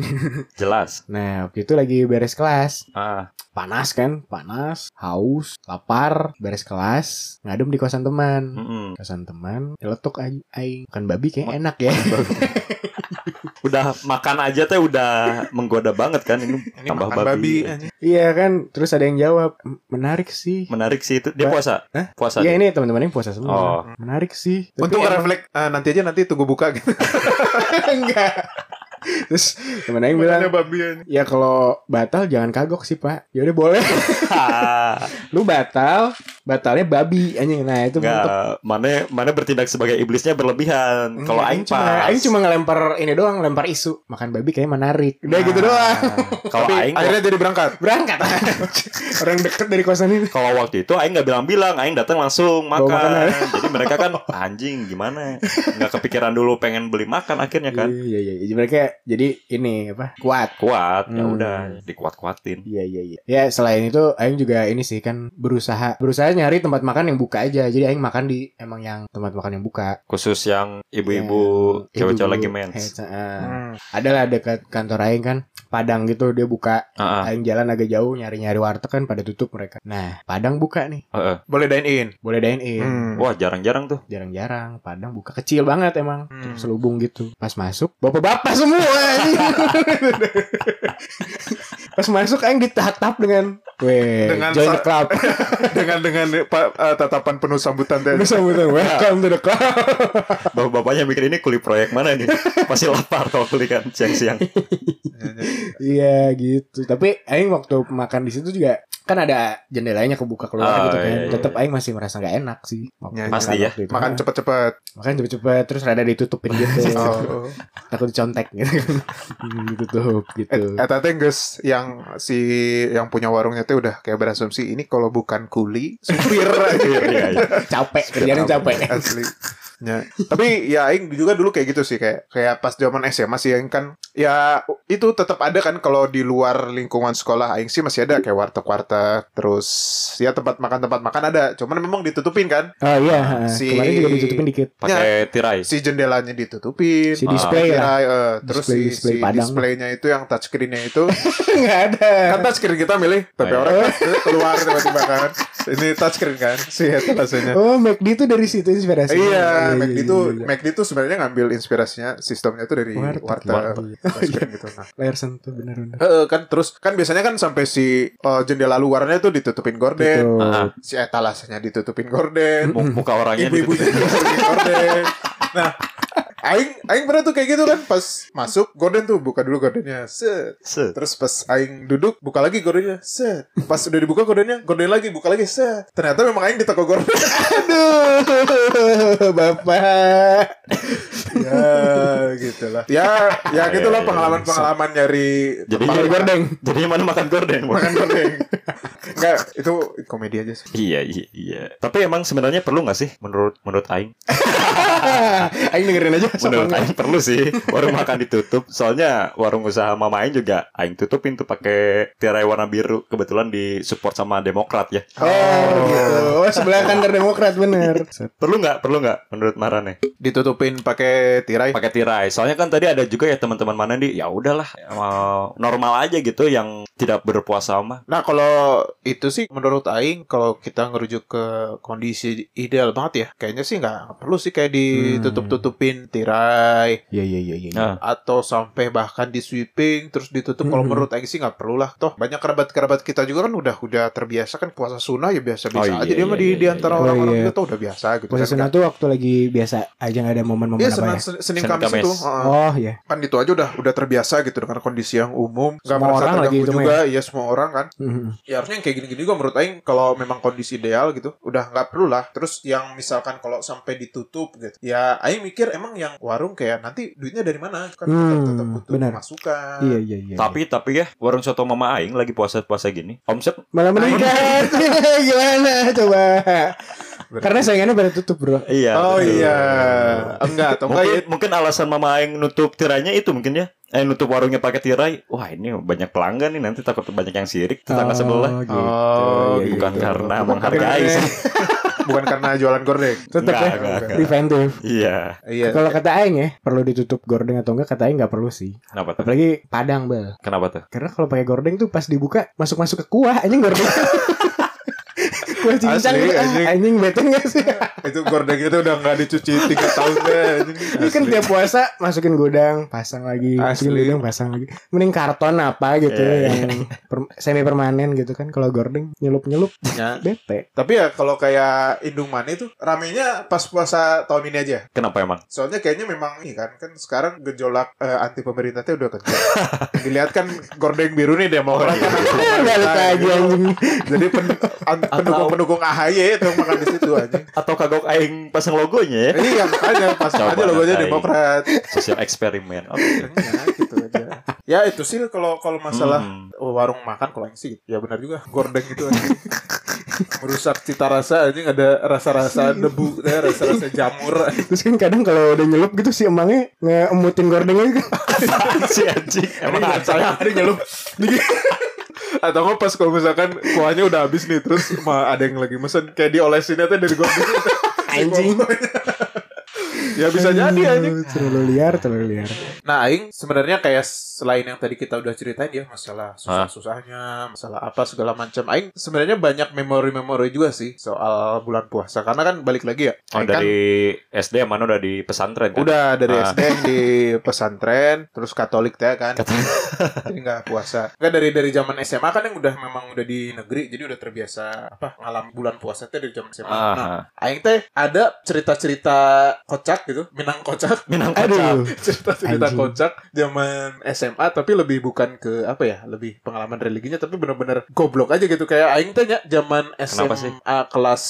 Speaker 3: jelas.
Speaker 2: Nah, waktu itu lagi beres kelas.
Speaker 3: Ah,
Speaker 2: Panas kan? Panas, haus, lapar, beres kelas, ngadem di kosan teman.
Speaker 3: mm-mm.
Speaker 2: Kosan teman, letuk aing, aing. Makan babi kayak enak ya.
Speaker 3: udah makan aja teh udah menggoda banget kan ini,
Speaker 1: Ini
Speaker 3: tambah
Speaker 1: makan babi.
Speaker 3: babi.
Speaker 1: anjing.
Speaker 2: iya kan? Terus ada yang jawab, "M- "Menarik sih."
Speaker 3: Menarik sih itu dia
Speaker 2: Ba-
Speaker 3: puasa.
Speaker 2: Hah?
Speaker 3: Puasa.
Speaker 2: Iya
Speaker 3: dia.
Speaker 2: ini teman-teman yang puasa semua.
Speaker 3: Oh.
Speaker 2: Menarik sih. Tapi
Speaker 1: Untuk
Speaker 2: emang-
Speaker 1: refleks eh, nanti aja nanti tunggu buka gitu.
Speaker 2: enggak. Terus temen aing bilang,
Speaker 1: Makannya babi anjing.
Speaker 2: "Ya kalau batal jangan kagok sih, Pak." Ya udah boleh.
Speaker 3: Ah,
Speaker 2: Lu batal, batalnya babi anjing nah itu mantep
Speaker 3: Nggak, mana mana bertindak sebagai iblisnya berlebihan. Kalau aing
Speaker 2: Iya, cuma
Speaker 3: pas.
Speaker 2: aing cuma ngelempar ini doang ngelempar isu makan babi kayaknya menarik udah
Speaker 3: Nah,
Speaker 2: gitu doang
Speaker 3: Kalau aing
Speaker 1: Akhirnya jadi berangkat.
Speaker 2: berangkat orang deket dari kosan ini
Speaker 3: kalau waktu itu aing nggak bilang-bilang, aing datang langsung
Speaker 2: Bawa makanan.
Speaker 3: makan. Jadi mereka kan anjing gimana? Nggak kepikiran dulu pengen beli makan akhirnya kan.
Speaker 2: iya iya iya mereka jadi ini apa kuat
Speaker 3: Kuat, ya
Speaker 2: Hmm.
Speaker 3: udah dikuat-kuatin.
Speaker 2: Iya iya iya. Ya selain itu aing juga ini sih kan berusaha berusaha nyari tempat makan yang buka aja. Jadi aing makan di emang yang tempat makan yang buka.
Speaker 3: Khusus yang ibu-ibu
Speaker 2: Yang-
Speaker 3: cewek-cewek
Speaker 2: Iya. ibu-ibu.
Speaker 3: lagi mens.
Speaker 2: Eh, eh. Ada lah dekat kantor aing kan Padang gitu dia buka.
Speaker 3: Heeh.
Speaker 2: Aing jalan agak jauh nyari-nyari warteg kan pada tutup mereka. Nah, Padang buka nih.
Speaker 3: heeh.
Speaker 1: Boleh dine in.
Speaker 2: Boleh dine in.
Speaker 1: Hmm.
Speaker 3: Wah jarang-jarang tuh.
Speaker 2: Jarang-jarang Padang buka kecil banget emang.
Speaker 1: Hmm.
Speaker 2: Selubung gitu. Pas masuk, bapak-bapak semua. anjing. Pas masuk aing ditatap dengan Weh,
Speaker 1: Dengan
Speaker 2: join
Speaker 1: sa-
Speaker 2: the club.
Speaker 1: dengan dengan pa- eh, tatapan penuh sambutan tadi.
Speaker 2: Lu sambutan welcome to the club.
Speaker 3: Bapak-bapaknya mikir ini kuli proyek mana nih? Pasti lapar kalau kuli kan siang-siang.
Speaker 2: Iya gitu. Tapi aing waktu makan di situ juga kan ada jendelanya kebuka
Speaker 3: Oh,
Speaker 2: keluar gitu kan.
Speaker 3: iya, iya.
Speaker 2: Tetap aing masih merasa nggak enak sih.
Speaker 1: Ya,
Speaker 3: pasti ya.
Speaker 2: waktu itu. Iya.
Speaker 1: Makan cepet-cepet.
Speaker 2: makan cepet-cepet terus rada ditutupin gitu.
Speaker 1: Oh.
Speaker 2: Takut dicontek gitu kan. Hmm, Ditutup gitu.
Speaker 1: Eh, Eta teh geus yang si yang punya warungnya teh udah kayak berasumsi ini kalau bukan kuli supir
Speaker 3: Iya, iya.
Speaker 2: Capek, kerjanya capek.
Speaker 1: asli. Ya. Tapi ya aing juga dulu kayak gitu sih kayak kayak pas zaman SMA sih aing kan ya itu tetap ada kan kalau di luar lingkungan sekolah aing sih masih ada kayak warteg-warteg terus ya tempat makan tempat makan ada cuman memang ditutupin kan
Speaker 2: Oh iya,
Speaker 1: Si-
Speaker 2: kemarin juga ditutupin dikit.
Speaker 3: Pakai tirai.
Speaker 1: si jendelanya ditutupin
Speaker 2: Si display
Speaker 1: ya,
Speaker 2: ya.
Speaker 1: eh, terus si,
Speaker 2: Display- display
Speaker 1: si
Speaker 2: Padang.
Speaker 1: displaynya itu yang touchscreennya itu
Speaker 2: Enggak ada.
Speaker 1: kan touchscreen kita milih tapi
Speaker 3: Oh, iya.
Speaker 1: orang kan keluar tiba-tiba kan ini touchscreen kan si Eta rasanya
Speaker 2: Oh, McD itu dari situ inspirasinya.
Speaker 1: iya McD itu
Speaker 2: iya.
Speaker 1: McD itu sebenarnya ngambil inspirasinya sistemnya itu dari
Speaker 2: Warteg.
Speaker 1: warteg
Speaker 2: Iya.
Speaker 1: touchscreen gitu nah
Speaker 2: Layar sentuh bener-bener.
Speaker 1: Eh, kan terus kan biasanya kan sampai si eh, jendela luarnya itu ditutupin gorden
Speaker 3: Ah,
Speaker 2: Tutup.
Speaker 1: si etalasenya ditutupin gorden
Speaker 3: Mu- Muka orangnya
Speaker 1: ibu-ibu
Speaker 3: gitu.
Speaker 1: ditutupin gorden nah Aing, Aing pernah tuh kayak gitu kan pas masuk gorden tuh buka dulu gordennya set
Speaker 3: Set.
Speaker 1: Terus pas aing duduk, buka lagi gordennya. Set. Pas udah dibuka gordennya, gorden lagi, buka lagi. Set. Ternyata memang aing di toko gorden.
Speaker 2: Aduh, bapak.
Speaker 1: ya, gitu lah. Ya, ya
Speaker 3: Ya,
Speaker 1: gitulah
Speaker 3: ya, ya.
Speaker 1: pengalaman-pengalaman nyari
Speaker 3: Jadi
Speaker 1: tempat
Speaker 3: nyari
Speaker 2: gordeng.
Speaker 3: Jadi mana makan gorden? Bang?
Speaker 1: makan gorden. Enggak, itu komedi aja sih.
Speaker 3: Iya iya iya. Tapi emang sebenarnya perlu nggak sih menurut menurut Aing?
Speaker 2: Aing dengerin aja
Speaker 3: Menurut Aing perlu sih. Warung makan ditutup. Soalnya warung usaha mama Aing juga Aing tutupin tuh pakai tirai warna biru. Kebetulan disupport sama Demokrat ya.
Speaker 2: Oh, gitu. Oh, sebelah kantor Demokrat bener.
Speaker 3: Perlu nggak? Perlu nggak? Menurut Marane?
Speaker 1: Ditutupin pakai tirai.
Speaker 3: Pakai tirai. Soalnya kan tadi ada juga ya teman-teman mana di. Ya udahlah. eh, Normal aja gitu yang tidak berpuasa mah.
Speaker 1: Nah kalau itu sih menurut Aing kalau kita ngerujuk ke kondisi ideal banget ya kayaknya sih nggak perlu sih kayak ditutup-tutupin tirai
Speaker 2: Hmm. Iya, iya, iya, iya.
Speaker 3: Nah,
Speaker 1: atau sampai bahkan di sweeping terus ditutup kalau
Speaker 2: Mhm.
Speaker 1: menurut Aing sih nggak perlu lah toh banyak kerabat-kerabat kita juga kan udah udah terbiasa kan puasa sunnah ya biasa-biasa
Speaker 3: Oh, iya,
Speaker 1: aja dia mah
Speaker 3: iya,
Speaker 1: di,
Speaker 3: iya,
Speaker 1: di antara
Speaker 2: iya. Oh,
Speaker 1: orang-orang
Speaker 2: iya.
Speaker 1: juga tuh udah biasa gitu
Speaker 2: Puasa
Speaker 1: kan.
Speaker 2: sunat tuh waktu lagi biasa aja nggak ada momen-momen
Speaker 1: Iya
Speaker 2: apa
Speaker 1: Senin,
Speaker 2: ya?
Speaker 1: Senin, Senin
Speaker 3: Senin,
Speaker 1: Kamis
Speaker 3: Kamis.
Speaker 1: itu heeh.
Speaker 2: Oh ya,
Speaker 1: kan itu aja udah udah terbiasa gitu dengan kondisi yang umum nggak
Speaker 2: Semua
Speaker 1: merasa
Speaker 2: orang lagi
Speaker 1: terganggu
Speaker 2: itu mah
Speaker 1: juga iya semua orang kan
Speaker 2: Mhm.
Speaker 1: ya harusnya yang kayak gini-gini juga menurut Aing kalau memang kondisi ideal gitu udah nggak perlu lah terus yang misalkan kalau sampai ditutup gitu ya Aing mikir emang yang warung kayak nanti duitnya dari mana kan tetap,
Speaker 2: Hmm,
Speaker 1: tetap butuh
Speaker 2: benar.
Speaker 1: masukan
Speaker 2: iya iya iya.
Speaker 3: tapi tapi ya warung soto mama Aing lagi puasa-puasa gini. Omset
Speaker 2: malah meningkat. Gimana coba?
Speaker 1: Berarti-
Speaker 2: Karena saingannya pada tutup bro.
Speaker 3: iya.
Speaker 1: Oh
Speaker 3: betul.
Speaker 1: iya, enggak atau enggak
Speaker 3: mungkin,
Speaker 1: ya?
Speaker 3: mungkin alasan mama Aing nutup tirainya itu mungkin ya. Eh nutup warungnya pakai tirai. Wah, ini banyak pelanggan nih nanti takut banyak yang sirik tetangga sebelah.
Speaker 2: gitu.
Speaker 1: Oh,
Speaker 2: Iya, iya,
Speaker 3: Bukan
Speaker 2: iya.
Speaker 3: karena
Speaker 2: Tetap
Speaker 3: menghargai
Speaker 2: karena-
Speaker 3: sih.
Speaker 1: Bukan karena jualan gorden.
Speaker 2: Tetap
Speaker 3: Enggak,
Speaker 2: ya.
Speaker 3: enggak, enggak.
Speaker 2: Preventif.
Speaker 3: Iya.
Speaker 1: Iya.
Speaker 2: Kalau kata Aing ya, perlu ditutup gorden atau enggak? Kata Aing nggak perlu sih.
Speaker 3: Kenapa tuh?
Speaker 2: Apalagi Padang bel.
Speaker 3: Kenapa tuh?
Speaker 2: Karena kalau pakai gorden tuh pas dibuka masuk masuk ke kuah anjing gorden. kuah cincang
Speaker 1: Asli,
Speaker 2: gitu. Ah,
Speaker 1: anjing.
Speaker 2: anjing bete nggak sih?
Speaker 1: Iya, Itu gorden itu udah nggak dicuci 3 tahun deh.
Speaker 2: Ini kan tiap puasa masukin gudang, pasang lagi,
Speaker 1: Asli.
Speaker 2: masukin
Speaker 1: Eh.
Speaker 2: gudang, pasang lagi. Mending karton apa gitu
Speaker 3: Iya,
Speaker 2: yang per- semi permanen gitu kan. Kalau gorden nyelup-nyelup bete.
Speaker 1: Tapi ya kalau kayak Indung Mane itu ramenya pas puasa tahun ini aja.
Speaker 3: Kenapa emang?
Speaker 1: Soalnya kayaknya memang ini kan kan sekarang gejolak eh, anti pemerintahnya udah kencang. Dilihat kan gorden biru nih demo orang kan.
Speaker 2: Balik lagi anjing.
Speaker 1: Jadi pen- an- pendukung pendukung AHY itu yang makan di situ aja.
Speaker 3: atau kagok aing pasang logonya ya
Speaker 1: Iya makanya pas
Speaker 3: Coba
Speaker 1: aja logonya
Speaker 3: ngatain.
Speaker 1: Demokrat.
Speaker 3: sosial eksperimen oke
Speaker 1: Ya, gitu aja. Ya itu sih kalau kalau masalah Oh,
Speaker 3: Hmm.
Speaker 1: warung makan kalau yang sih ya benar juga gordeng gitu aja. merusak cita rasa aja nggak ada rasa-rasa debu eh, rasa-rasa jamur
Speaker 2: Terus kan kadang kalau udah nyelup gitu si emangnya ngeemutin gordengnya gitu.
Speaker 3: si anjing emang
Speaker 1: Ini kan-
Speaker 3: ada
Speaker 1: saya ada nyelup Iya. atau nggak pas kalau misalkan kuahnya udah habis nih terus ma- ada yang lagi mesen kayak diolesinnya tuh dari gordeng
Speaker 2: Anjing.
Speaker 1: ya bisa jadi anjing
Speaker 2: Aduh, Terlalu liar, terlalu liar.
Speaker 1: Nah, aing sebenarnya kayak selain yang tadi kita udah ceritain ya masalah susah-susahnya, masalah apa segala macam. Aing sebenarnya banyak memori-memori juga sih soal bulan puasa karena kan balik lagi ya.
Speaker 3: oh,
Speaker 1: Aing kan
Speaker 3: dari SD mana udah di pesantren kan?
Speaker 1: udah dari
Speaker 3: Ah.
Speaker 1: SD yang di pesantren, terus Katolik teh kan. jadi nggak puasa. Enggak dari dari zaman SMA kan yang udah memang udah di negeri, jadi udah terbiasa apa ngalam bulan puasa teh dari zaman SMA.
Speaker 3: Ah,
Speaker 1: Nah,
Speaker 3: ah.
Speaker 1: aing teh ada cerita-cerita kocak gitu, Minang kocak
Speaker 3: Minang
Speaker 2: Aduh.
Speaker 1: cerita-cerita
Speaker 2: Anjing.
Speaker 1: kocak zaman SMA tapi lebih bukan ke apa ya lebih pengalaman religinya tapi bener-bener goblok aja gitu kayak aing tanya zaman
Speaker 3: Kenapa sih?
Speaker 1: SMA kelas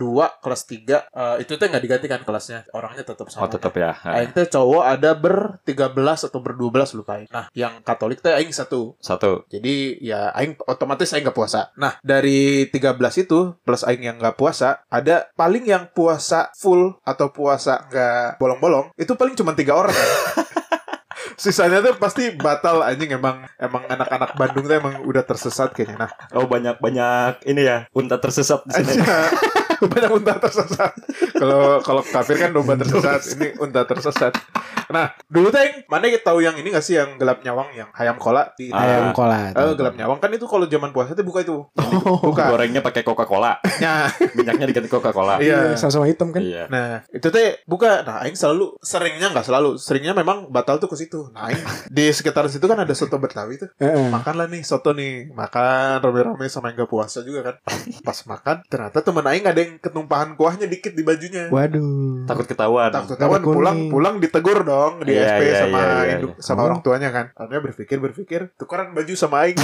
Speaker 1: 2 kelas 3 eh, itu teh nggak diganti kan kelasnya orangnya tetap sama
Speaker 3: oh tetap ya Ah.
Speaker 1: Aing teh cowok ada ber 13 atau ber 12 lupa aing. Nah, yang Katolik teh aing satu.
Speaker 3: satu
Speaker 1: Jadi ya aing otomatis aing nggak puasa. Nah, dari 13 itu plus aing yang nggak puasa, ada paling yang puasa full atau puasa nggak bolong-bolong, itu paling cuma tiga orang. Sisanya tuh pasti batal anjing emang emang anak-anak Bandung tuh emang udah tersesat kayaknya. Nah,
Speaker 3: oh banyak banyak ini ya unta tersesat di sini
Speaker 1: anjing, banyak unta tersesat. Kalau kalau kafir kan domba tersesat, ini unta tersesat. Nah, dulu tuh yang mana kita tahu yang ini nggak sih yang gelap nyawang yang ayam kola di
Speaker 3: Ah.
Speaker 2: Ayam kolat.
Speaker 1: Eh, gelap nyawang kan itu kalau zaman puasa tuh buka itu.
Speaker 3: Oh.
Speaker 1: Buka.
Speaker 3: gorengnya pakai coca cola
Speaker 1: Nah,
Speaker 3: minyaknya diganti coca cola
Speaker 1: iya.
Speaker 2: Iya, sama-sama hitam kan.
Speaker 3: iya
Speaker 1: Nah, itu teh buka. Nah, aing selalu seringnya nggak selalu, seringnya memang batal tuh ke situ. Nah, aing di sekitar situ kan ada soto Betawi tuh.
Speaker 2: Heeh.
Speaker 3: Hmm.
Speaker 1: Makanlah nih soto nih, makan rame-rame sama yang gak puasa juga kan. Pas makan, ternyata temen aing ada yang ketumpahan kuahnya dikit di bajunya.
Speaker 2: Waduh.
Speaker 3: takut ketahuan
Speaker 1: Takut ketahuan
Speaker 2: Takut kuning.
Speaker 1: pulang-pulang ditegur dong di
Speaker 3: Iya,
Speaker 1: SP
Speaker 3: iya,
Speaker 1: sama
Speaker 3: iya, iya,
Speaker 1: induk-
Speaker 3: iya.
Speaker 1: sama orang tuanya kan. Akhirnya berpikir berpikir tukaran baju sama aing.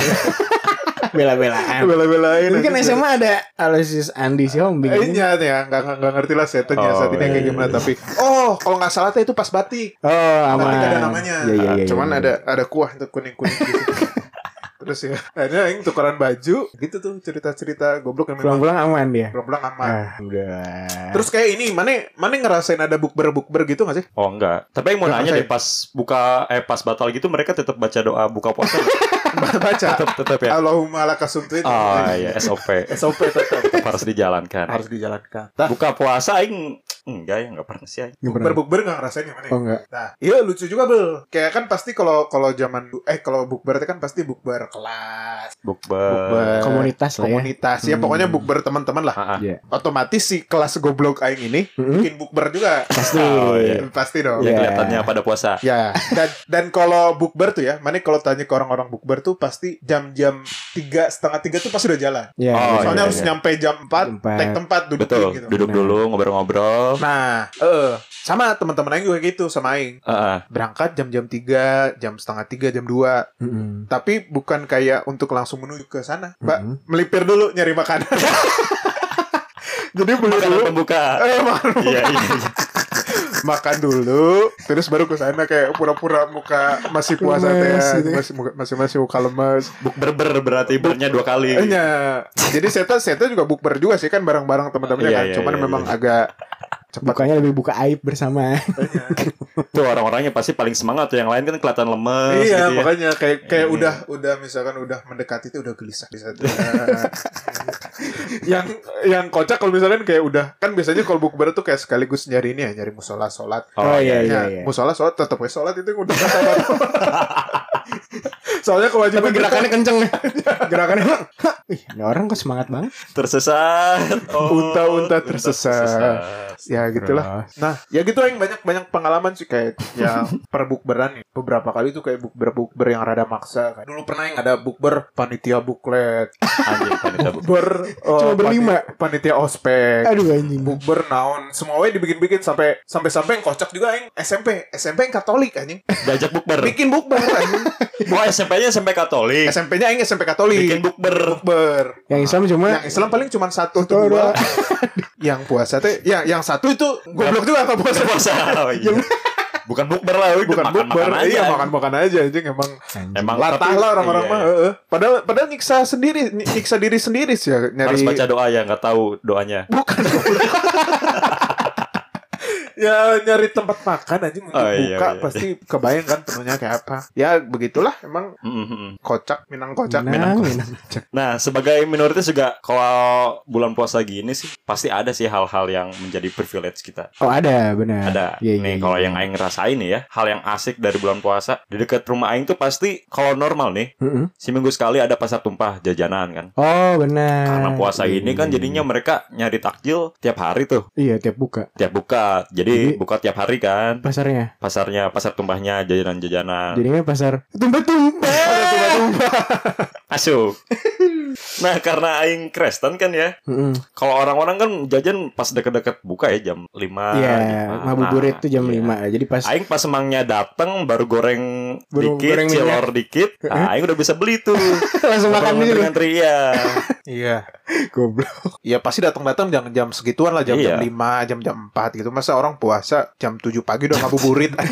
Speaker 2: bela-belaan.
Speaker 1: Bela-belain.
Speaker 2: Tapi kan
Speaker 1: Akhirnya.
Speaker 2: SMA ada Aloysius Andi sih om
Speaker 1: Eh,
Speaker 2: bingung.
Speaker 1: iya, ya, nggak nggak- nggak ngerti lah settingnya
Speaker 3: Oh,
Speaker 1: saat ini
Speaker 3: iya,
Speaker 1: kayak
Speaker 3: iya,
Speaker 1: gimana
Speaker 3: iya.
Speaker 1: tapi oh kalau nggak salah teh itu pas batik
Speaker 2: Oh, aman.
Speaker 1: Nanti ada namanya.
Speaker 2: Iya, iya, iya,
Speaker 1: Cuman
Speaker 2: iya.
Speaker 1: ada ada kuah untuk kuning-kuning gitu. Terus ya, akhirnya aing tukeran baju gitu tuh cerita-cerita goblok yang memang
Speaker 2: pulang-pulang aman dia.
Speaker 1: pulang-pulang aman.
Speaker 2: Ah, udah.
Speaker 1: Terus kayak ini, mana mana ngerasain ada bukber-bukber gitu gak sih?
Speaker 3: Oh enggak. Tapi yang mau
Speaker 1: Enggak,
Speaker 3: nanya
Speaker 1: saya-
Speaker 3: deh pas buka eh pas batal gitu mereka tetap baca doa buka puasa.
Speaker 1: Baca.
Speaker 3: tetap tetap ya.
Speaker 1: Allahumma laka sumtuin.
Speaker 3: Oh iya SOP
Speaker 1: SOP tetap
Speaker 3: tetap harus
Speaker 2: iya.
Speaker 3: dijalankan.
Speaker 1: harus dijalankan. Nah,
Speaker 3: Buka puasa aing enggak ya enggak pernah sih aing.
Speaker 2: Nggak pernah.
Speaker 1: bukber-bukber gak ngerasain ya mana?
Speaker 2: Oh enggak.
Speaker 1: Nah, iya lucu juga bel. Kayak kan pasti kalau kalau zaman eh kalau bukber itu kan pasti bukber kelas,
Speaker 3: Bukber.
Speaker 1: bukber
Speaker 2: Eh, Komunitas lah ya.
Speaker 1: komunitas. Ya
Speaker 2: Hmm.
Speaker 1: pokoknya bukber teman-teman lah.
Speaker 3: Iya. Ah, ah.
Speaker 2: Iya.
Speaker 1: Otomatis si kelas goblok aing ini
Speaker 2: Mm-mm.
Speaker 1: bikin bukber juga.
Speaker 2: Pasti.
Speaker 3: Oh, iya.
Speaker 1: Pasti dong.
Speaker 3: Yang
Speaker 2: Iya.
Speaker 3: kelihatannya pada puasa.
Speaker 1: Ya, dan dan kalau bukber tuh ya, mana kalau tanya ke orang-orang bukber tuh pasti jam-jam tiga setengah tiga tuh pasti udah jalan.
Speaker 2: Iya.
Speaker 3: Oh,
Speaker 1: Soalnya
Speaker 3: iya,
Speaker 1: harus
Speaker 3: iya.
Speaker 1: nyampe jam 4,
Speaker 2: Empat.
Speaker 1: naik tempat dudukin
Speaker 3: Betul.
Speaker 1: gitu.
Speaker 3: Duduk
Speaker 2: Nah.
Speaker 3: dulu ngobrol-ngobrol.
Speaker 1: Nah, eh sama teman-teman Aing juga gitu sama Aing.
Speaker 3: Heeh.
Speaker 1: Berangkat jam-jam tiga, jam setengah tiga, jam dua.
Speaker 2: Mm-mm.
Speaker 1: Tapi bukan kayak untuk langsung menuju ke sana. Mbak,
Speaker 3: Hmm.
Speaker 2: Mm-mm.
Speaker 1: melipir dulu nyari makanan. Jadi beli
Speaker 3: Makanan
Speaker 1: dulu.
Speaker 3: pembuka.
Speaker 1: Eh, makan,
Speaker 3: Iya iya. iya.
Speaker 1: makan dulu, terus baru ke sana kayak pura-pura muka masih puasa
Speaker 2: Lemes
Speaker 1: teh,
Speaker 2: gitu.
Speaker 1: masih muka- masih masih muka lemes.
Speaker 3: Bukber ber berarti bernya dua kali.
Speaker 1: Eh, ya. Jadi Seta Seta juga bukber juga sih kan bareng-bareng teman-temannya
Speaker 3: Iya,
Speaker 1: kan.
Speaker 3: iya,
Speaker 1: Cuman
Speaker 3: iya,
Speaker 1: memang
Speaker 3: iya.
Speaker 1: agak cepat.
Speaker 2: Bukanya lebih buka aib bersama.
Speaker 3: Tuh orang-orangnya pasti paling semangat tuh yang lain kan kelihatan lemes
Speaker 1: iya,
Speaker 3: gitu ya.
Speaker 1: makanya kayak kayak
Speaker 3: Iya.
Speaker 1: udah udah misalkan udah mendekati itu udah gelisah di Seta. yang yang kocak kalau misalkan kayak udah kan biasanya kalau bukber tuh kayak sekaligus nyari ini ya, nyari musola sholat.
Speaker 2: Oh, iya, iya.
Speaker 1: Ya, musola sholat tetap ya sholat itu udah kata baru. Soalnya kewajiban
Speaker 2: Tapi
Speaker 1: kita-
Speaker 2: gerakannya kenceng nih. gerakannya. Hah, Wih, ini orang kok semangat banget.
Speaker 3: Tersesat. Oh,
Speaker 1: Unta-unta tersesat. ya gitulah.
Speaker 2: Terus.
Speaker 1: Nah, ya gitu yang banyak banyak pengalaman sih kayak yang per bukberan ya. Beberapa kali tuh kayak bukber bukber yang rada maksa. Kayak. Dulu pernah yang ada bukber panitia buklet,
Speaker 3: Anjing panitia bukber.
Speaker 1: bukber eh,
Speaker 2: Cuma berlima.
Speaker 1: pani- panitia ospek.
Speaker 2: Aduh anjing.
Speaker 1: Bukber naon semua we dibikin-bikin sampai sampai sampai yang kocak juga yang SMP SMP yang Katolik anjing
Speaker 3: Diajak bukber.
Speaker 1: bikin bukber anjing
Speaker 3: Wah SMP SMP-nya SMP Katolik.
Speaker 1: SMP-nya aing SMP Katolik.
Speaker 3: Bikin bukber.
Speaker 1: Bukber.
Speaker 2: Yang Islam cuma
Speaker 1: Yang Islam paling cuma satu atau dua. yang puasa teh, ya yang satu itu goblok juga nggak puasa.
Speaker 3: Puasa. oh iya. Bukan bukber lah, itu
Speaker 1: Bukan bukber,
Speaker 3: makan-makan aja.
Speaker 1: iya makan-makan aja anjing emang
Speaker 3: Emang
Speaker 1: latah
Speaker 3: tapi-
Speaker 1: lah orang-orang
Speaker 3: iya,
Speaker 1: mah.
Speaker 3: iya.
Speaker 1: heeh. Padahal padahal nyiksa sendiri, ny- nyiksa diri sendiri sih ya nyari
Speaker 3: Harus baca doa ya, nggak tahu doanya.
Speaker 1: Bukan. ya nyari tempat makan aja untuk
Speaker 3: Oh, iya,
Speaker 1: buka
Speaker 3: iya.
Speaker 1: pasti kebayang kan penuhnya kayak apa. Ya begitulah emang
Speaker 3: Mm-mm.
Speaker 1: kocak minang kocak
Speaker 2: Minang,
Speaker 1: kocak.
Speaker 2: Minang.
Speaker 3: Nah, sebagai minoritas juga kalau bulan puasa gini sih pasti ada sih hal-hal yang menjadi privilege kita.
Speaker 2: Oh ada benar.
Speaker 3: Ada.
Speaker 2: Iya,
Speaker 3: nih
Speaker 2: iya,
Speaker 3: kalau
Speaker 2: iya.
Speaker 3: yang aing ngerasain nih ya, hal yang asik dari bulan puasa di dekat rumah aing tuh pasti kalau normal nih
Speaker 2: Mm-mm.
Speaker 3: seminggu sekali ada pasar tumpah jajanan kan.
Speaker 2: Oh benar.
Speaker 3: Karena puasa
Speaker 2: Iya,
Speaker 3: ini kan
Speaker 2: iya,
Speaker 3: jadinya mereka nyari takjil tiap hari tuh,
Speaker 2: Iya tiap buka
Speaker 3: tiap buka. Jadi
Speaker 2: Jadi-
Speaker 3: buka tiap hari kan
Speaker 2: pasarnya.
Speaker 3: pasarnya, pasar tumpahnya, jajanan-jajanan.
Speaker 2: Jadinya pasar tumpah-tumpah.
Speaker 3: Masuk. nah, karena aing Kristen kan ya.
Speaker 2: Mm-mm.
Speaker 3: Kalau orang-orang kan jajan pas deket-deket buka ya jam 5.
Speaker 2: Iya, ngabuburit tuh jam
Speaker 3: 5
Speaker 2: 5. Jadi pas
Speaker 3: iya. Aing pas semangnya datang baru goreng
Speaker 2: Baru
Speaker 3: dikit,
Speaker 2: goreng
Speaker 3: cilor dikit. Nah, aing udah bisa beli tuh.
Speaker 2: langsung makan
Speaker 3: gitu.
Speaker 2: gitu.
Speaker 3: ya.
Speaker 1: Iya.
Speaker 2: Goblok.
Speaker 1: Ya pasti datang-datang jam jam segituan lah jam
Speaker 3: Iya.
Speaker 1: jam 5, jam jam 4 gitu. Masa orang puasa jam 7 pagi udah ngabuburit.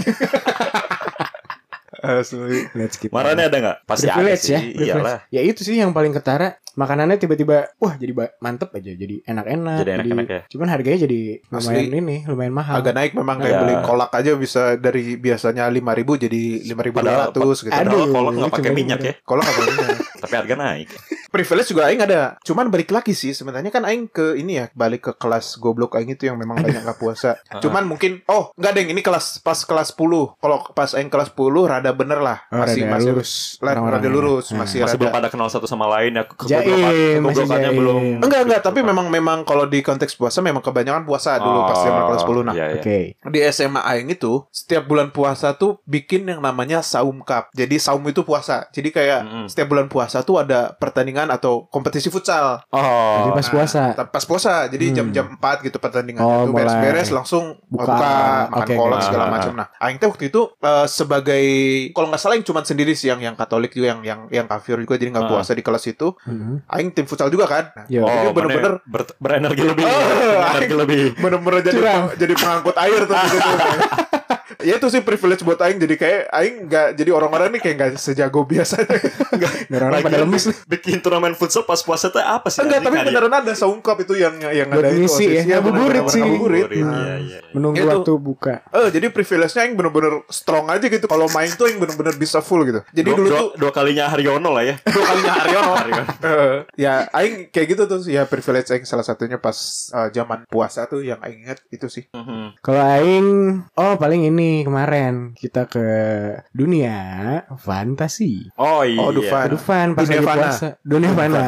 Speaker 1: Asli.
Speaker 2: Let's skip.
Speaker 3: Marane ada nggak? Pasti ada
Speaker 2: privilege
Speaker 3: sih.
Speaker 2: ya.
Speaker 3: Iyalah.
Speaker 2: privilege. Ya itu sih yang paling ketara. Makanannya tiba-tiba wah jadi ba- mantep aja, jadi enak-enak.
Speaker 3: Jadi enak-enak ya.
Speaker 2: Cuman harganya jadi
Speaker 1: Asli.
Speaker 2: lumayan ini, lumayan mahal.
Speaker 1: Agak naik memang kayak
Speaker 3: Ada.
Speaker 1: beli kolak aja bisa dari biasanya 5.000 jadi 5.200 gitu.
Speaker 2: Aduh.
Speaker 3: Padahal kalau nggak
Speaker 2: itu
Speaker 3: pakai
Speaker 2: bener-bener.
Speaker 3: minyak ya,
Speaker 1: Kolak apa ini?
Speaker 3: tapi harga naik.
Speaker 1: privilege juga aing ada. Cuman balik lagi sih sebenarnya kan aing ke ini ya, balik ke kelas goblok aing itu yang memang banyak nggak puasa. Cuman mungkin oh, enggak deng ini kelas pas kelas 10. Kalau pas aing kelas 10 rada bener lah.
Speaker 2: Oh,
Speaker 1: masih
Speaker 2: rada
Speaker 1: masih
Speaker 2: lurus
Speaker 1: la-
Speaker 2: orang-orangnya.
Speaker 1: rada lurus, ya. Hmm,
Speaker 2: Nah.
Speaker 1: masih,
Speaker 3: Masih
Speaker 1: rada.
Speaker 3: belum pada kenal satu sama lain ya. ke-
Speaker 2: Jaim,
Speaker 3: kegoblokan-
Speaker 2: masih
Speaker 3: kegoblokannya
Speaker 2: jaim.
Speaker 3: belum.
Speaker 1: Enggak enggak, tapi memang memang kalau di konteks puasa memang kebanyakan puasa dulu pas zaman kelas 10 nah.
Speaker 3: Iya,
Speaker 2: Oke.
Speaker 3: iya.
Speaker 1: Di SMA aing itu setiap bulan puasa tuh bikin yang namanya saum cup. Jadi saum itu puasa. Jadi kayak
Speaker 3: Mm-mm.
Speaker 1: setiap bulan puasa tuh ada pertandingan atau kompetisi futsal.
Speaker 2: Jadi
Speaker 3: Oh.
Speaker 2: pas puasa.
Speaker 1: Tapi pas puasa jadi
Speaker 2: Hmm.
Speaker 1: jam-jam 4 gitu pertandingan
Speaker 2: Oh,
Speaker 1: itu
Speaker 2: mulai.
Speaker 1: beres-beres langsung eh,
Speaker 2: Buka.
Speaker 1: buka, makan
Speaker 2: Oke,
Speaker 1: kolak
Speaker 3: oke.
Speaker 1: segala
Speaker 3: Ah,
Speaker 1: macam nah aing teh waktu itu eh, sebagai kalau nggak salah yang cuman sendiri sih yang yang Katolik juga yang yang yang kafir juga jadi nggak
Speaker 3: Ah.
Speaker 1: puasa di kelas itu
Speaker 2: Heeh.
Speaker 1: aing tim futsal juga kan Nah,
Speaker 2: Iya.
Speaker 3: Oh,
Speaker 1: jadi
Speaker 3: mana
Speaker 1: bener-bener
Speaker 3: ber- berenergi lebih.
Speaker 1: Oh,
Speaker 3: berenergi lebih.
Speaker 1: bener-bener jadi
Speaker 2: Curang.
Speaker 1: jadi pengangkut air tuh gitu tuh. ya itu sih privilege buat aing jadi kayak aing nggak jadi orang-orang nih kayak nggak sejago biasanya nggak
Speaker 2: Orang-orang pada
Speaker 3: Lagian
Speaker 2: lemes nih.
Speaker 3: Bikin turnamen futsal pas puasa tuh apa sih?
Speaker 1: enggak
Speaker 3: anjing? ya?
Speaker 1: tapi
Speaker 3: Ada-
Speaker 1: beneran ada saungkap itu yang yang
Speaker 2: Buat
Speaker 1: ada itu
Speaker 2: ngisi ya,
Speaker 1: Iya,
Speaker 2: ngabuburit
Speaker 1: bener-bener
Speaker 2: sih.
Speaker 1: ngabuburit.
Speaker 3: Ngabuburit,
Speaker 1: Nah.
Speaker 3: iya, iya.
Speaker 2: Menunggu
Speaker 1: Itu.
Speaker 2: waktu buka.
Speaker 1: Eh jadi privilege-nya yang bener-bener strong aja gitu. Kalau main tuh yang bener-bener bisa full gitu. Jadi
Speaker 3: dua,
Speaker 1: dulu
Speaker 3: dua-
Speaker 1: tuh
Speaker 3: dua kalinya Haryono lah ya. Dua kalinya Haryono.
Speaker 1: eh, ya aing kayak gitu tuh sih. ya privilege aing salah satunya pas eh, zaman puasa tuh yang aing ingat itu sih.
Speaker 3: Mhm.
Speaker 2: Kalau aing oh paling ini kemarin kita ke dunia fantasi.
Speaker 3: oh iya.
Speaker 1: Oh, Dufan.
Speaker 2: Aduh fan pas
Speaker 1: Dunia
Speaker 2: lagi
Speaker 1: fana.
Speaker 2: puasa. Dunia fana.